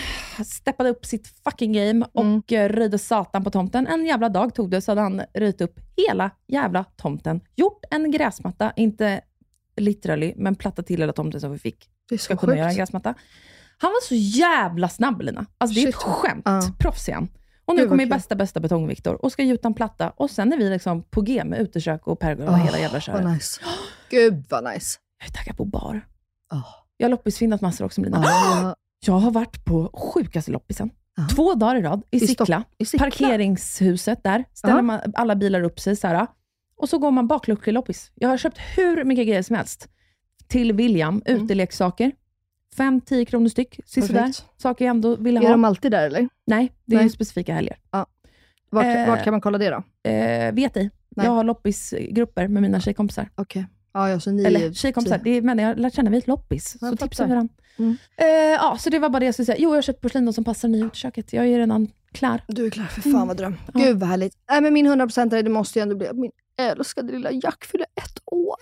[SPEAKER 5] steppade upp sitt fucking game och mm. röjde satan på tomten. En jävla dag tog det, så hade han röjt upp hela jävla tomten. Gjort en gräsmatta, inte literally, men platta till hela tomten så vi fick
[SPEAKER 4] det är så
[SPEAKER 5] kunna
[SPEAKER 4] sjukt.
[SPEAKER 5] göra en gräsmatta. Han var så jävla snabb Lina. Alltså det är ett
[SPEAKER 4] Shit, vad-
[SPEAKER 5] skämt.
[SPEAKER 4] Ja.
[SPEAKER 5] Proffs igen. Och nu
[SPEAKER 4] Gud, vad
[SPEAKER 5] kommer
[SPEAKER 4] kul.
[SPEAKER 5] bästa, bästa betong-Viktor och ska gjuta en platta och sen är vi liksom på G med utekök och pergola och
[SPEAKER 4] Åh,
[SPEAKER 5] hela jävla köret.
[SPEAKER 4] Ah, Vad nice. Gud vad nice.
[SPEAKER 5] Jag är taggad på bar. Jag har loppisfinnat massor också Lina.
[SPEAKER 4] Ah.
[SPEAKER 5] Jag har varit på sjukaste loppisen. Två dagar i rad i,
[SPEAKER 9] I Stock-
[SPEAKER 5] Sickla. Parkeringshuset där. Ställer
[SPEAKER 9] Ja.
[SPEAKER 5] man alla bilar upp sig så här. Och så går man bakluckeloppis. Jag har köpt hur mycket grejer som helst. Till William, uteleksaker. 5-10 kronor styck. Sisådär.
[SPEAKER 4] Mm. Perfekt.
[SPEAKER 5] Saker jag ändå ville ha.
[SPEAKER 4] Är de alltid där eller?
[SPEAKER 5] Nej, det är
[SPEAKER 4] Nej.
[SPEAKER 5] specifika helger.
[SPEAKER 4] Ja. Vart,
[SPEAKER 5] Eh.
[SPEAKER 4] vart kan man kolla det då?
[SPEAKER 5] Eh, vet ej.
[SPEAKER 4] Nej.
[SPEAKER 5] Jag har loppisgrupper med mina tjejkompisar.
[SPEAKER 4] Okej. Ja, ja, så ni typ-
[SPEAKER 5] Eller tjejkompisar, det är, men jag har lärt känna mig ett loppis.
[SPEAKER 4] Jag
[SPEAKER 5] så
[SPEAKER 4] fattar.
[SPEAKER 5] tipsar vi varandra.
[SPEAKER 4] Mm.
[SPEAKER 5] Eh, ja, så det var bara det jag skulle säga. Jo, jag har köpt porslin då som passar nya utköket. Jag är redan klar.
[SPEAKER 4] Du är klar, för
[SPEAKER 5] Mm.
[SPEAKER 4] fan vad dröm. Gud vad härligt. Nej, men min 100% är det måste ju ändå bli att min älskade lilla Jack fyller ett år.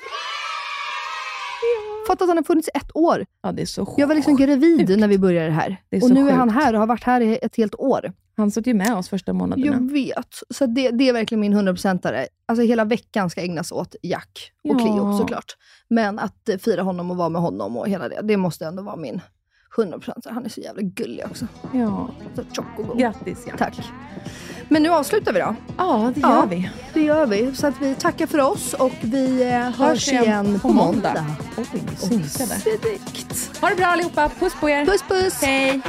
[SPEAKER 4] Fatta att han har funnits i ett år.
[SPEAKER 5] Ja, det är så
[SPEAKER 4] Jag var liksom gravid när vi började det här.
[SPEAKER 5] Det är
[SPEAKER 4] och
[SPEAKER 5] så
[SPEAKER 4] nu är han
[SPEAKER 5] sjukt.
[SPEAKER 4] här och har varit här i ett helt år.
[SPEAKER 5] Han satt ju med oss första månaderna.
[SPEAKER 4] Jag vet. Så det, det är verkligen min 100%are. Alltså hela veckan ska ägnas åt Jack och Cleo
[SPEAKER 5] Ja.
[SPEAKER 4] såklart. Men att eh, fira honom och vara med honom och hela det, det måste ändå vara min 100%are. Han är så jävla gullig också.
[SPEAKER 5] Ja.
[SPEAKER 4] Så tjock och god.
[SPEAKER 5] Grattis Jack.
[SPEAKER 4] Tack.
[SPEAKER 8] Men nu avslutar vi då.
[SPEAKER 5] Ja, det gör vi.
[SPEAKER 4] Det gör vi. Så att vi tackar för oss och vi eh, hörs, igen, på måndag.
[SPEAKER 5] Oj,
[SPEAKER 4] Och
[SPEAKER 5] synkade.
[SPEAKER 4] direkt.
[SPEAKER 5] Ha det bra allihopa. Puss på er.
[SPEAKER 4] Puss puss.
[SPEAKER 5] Hej.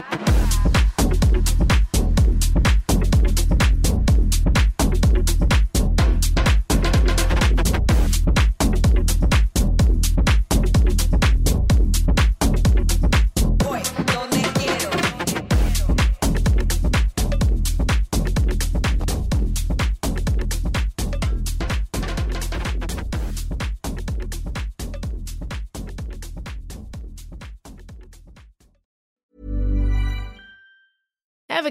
[SPEAKER 13] Ever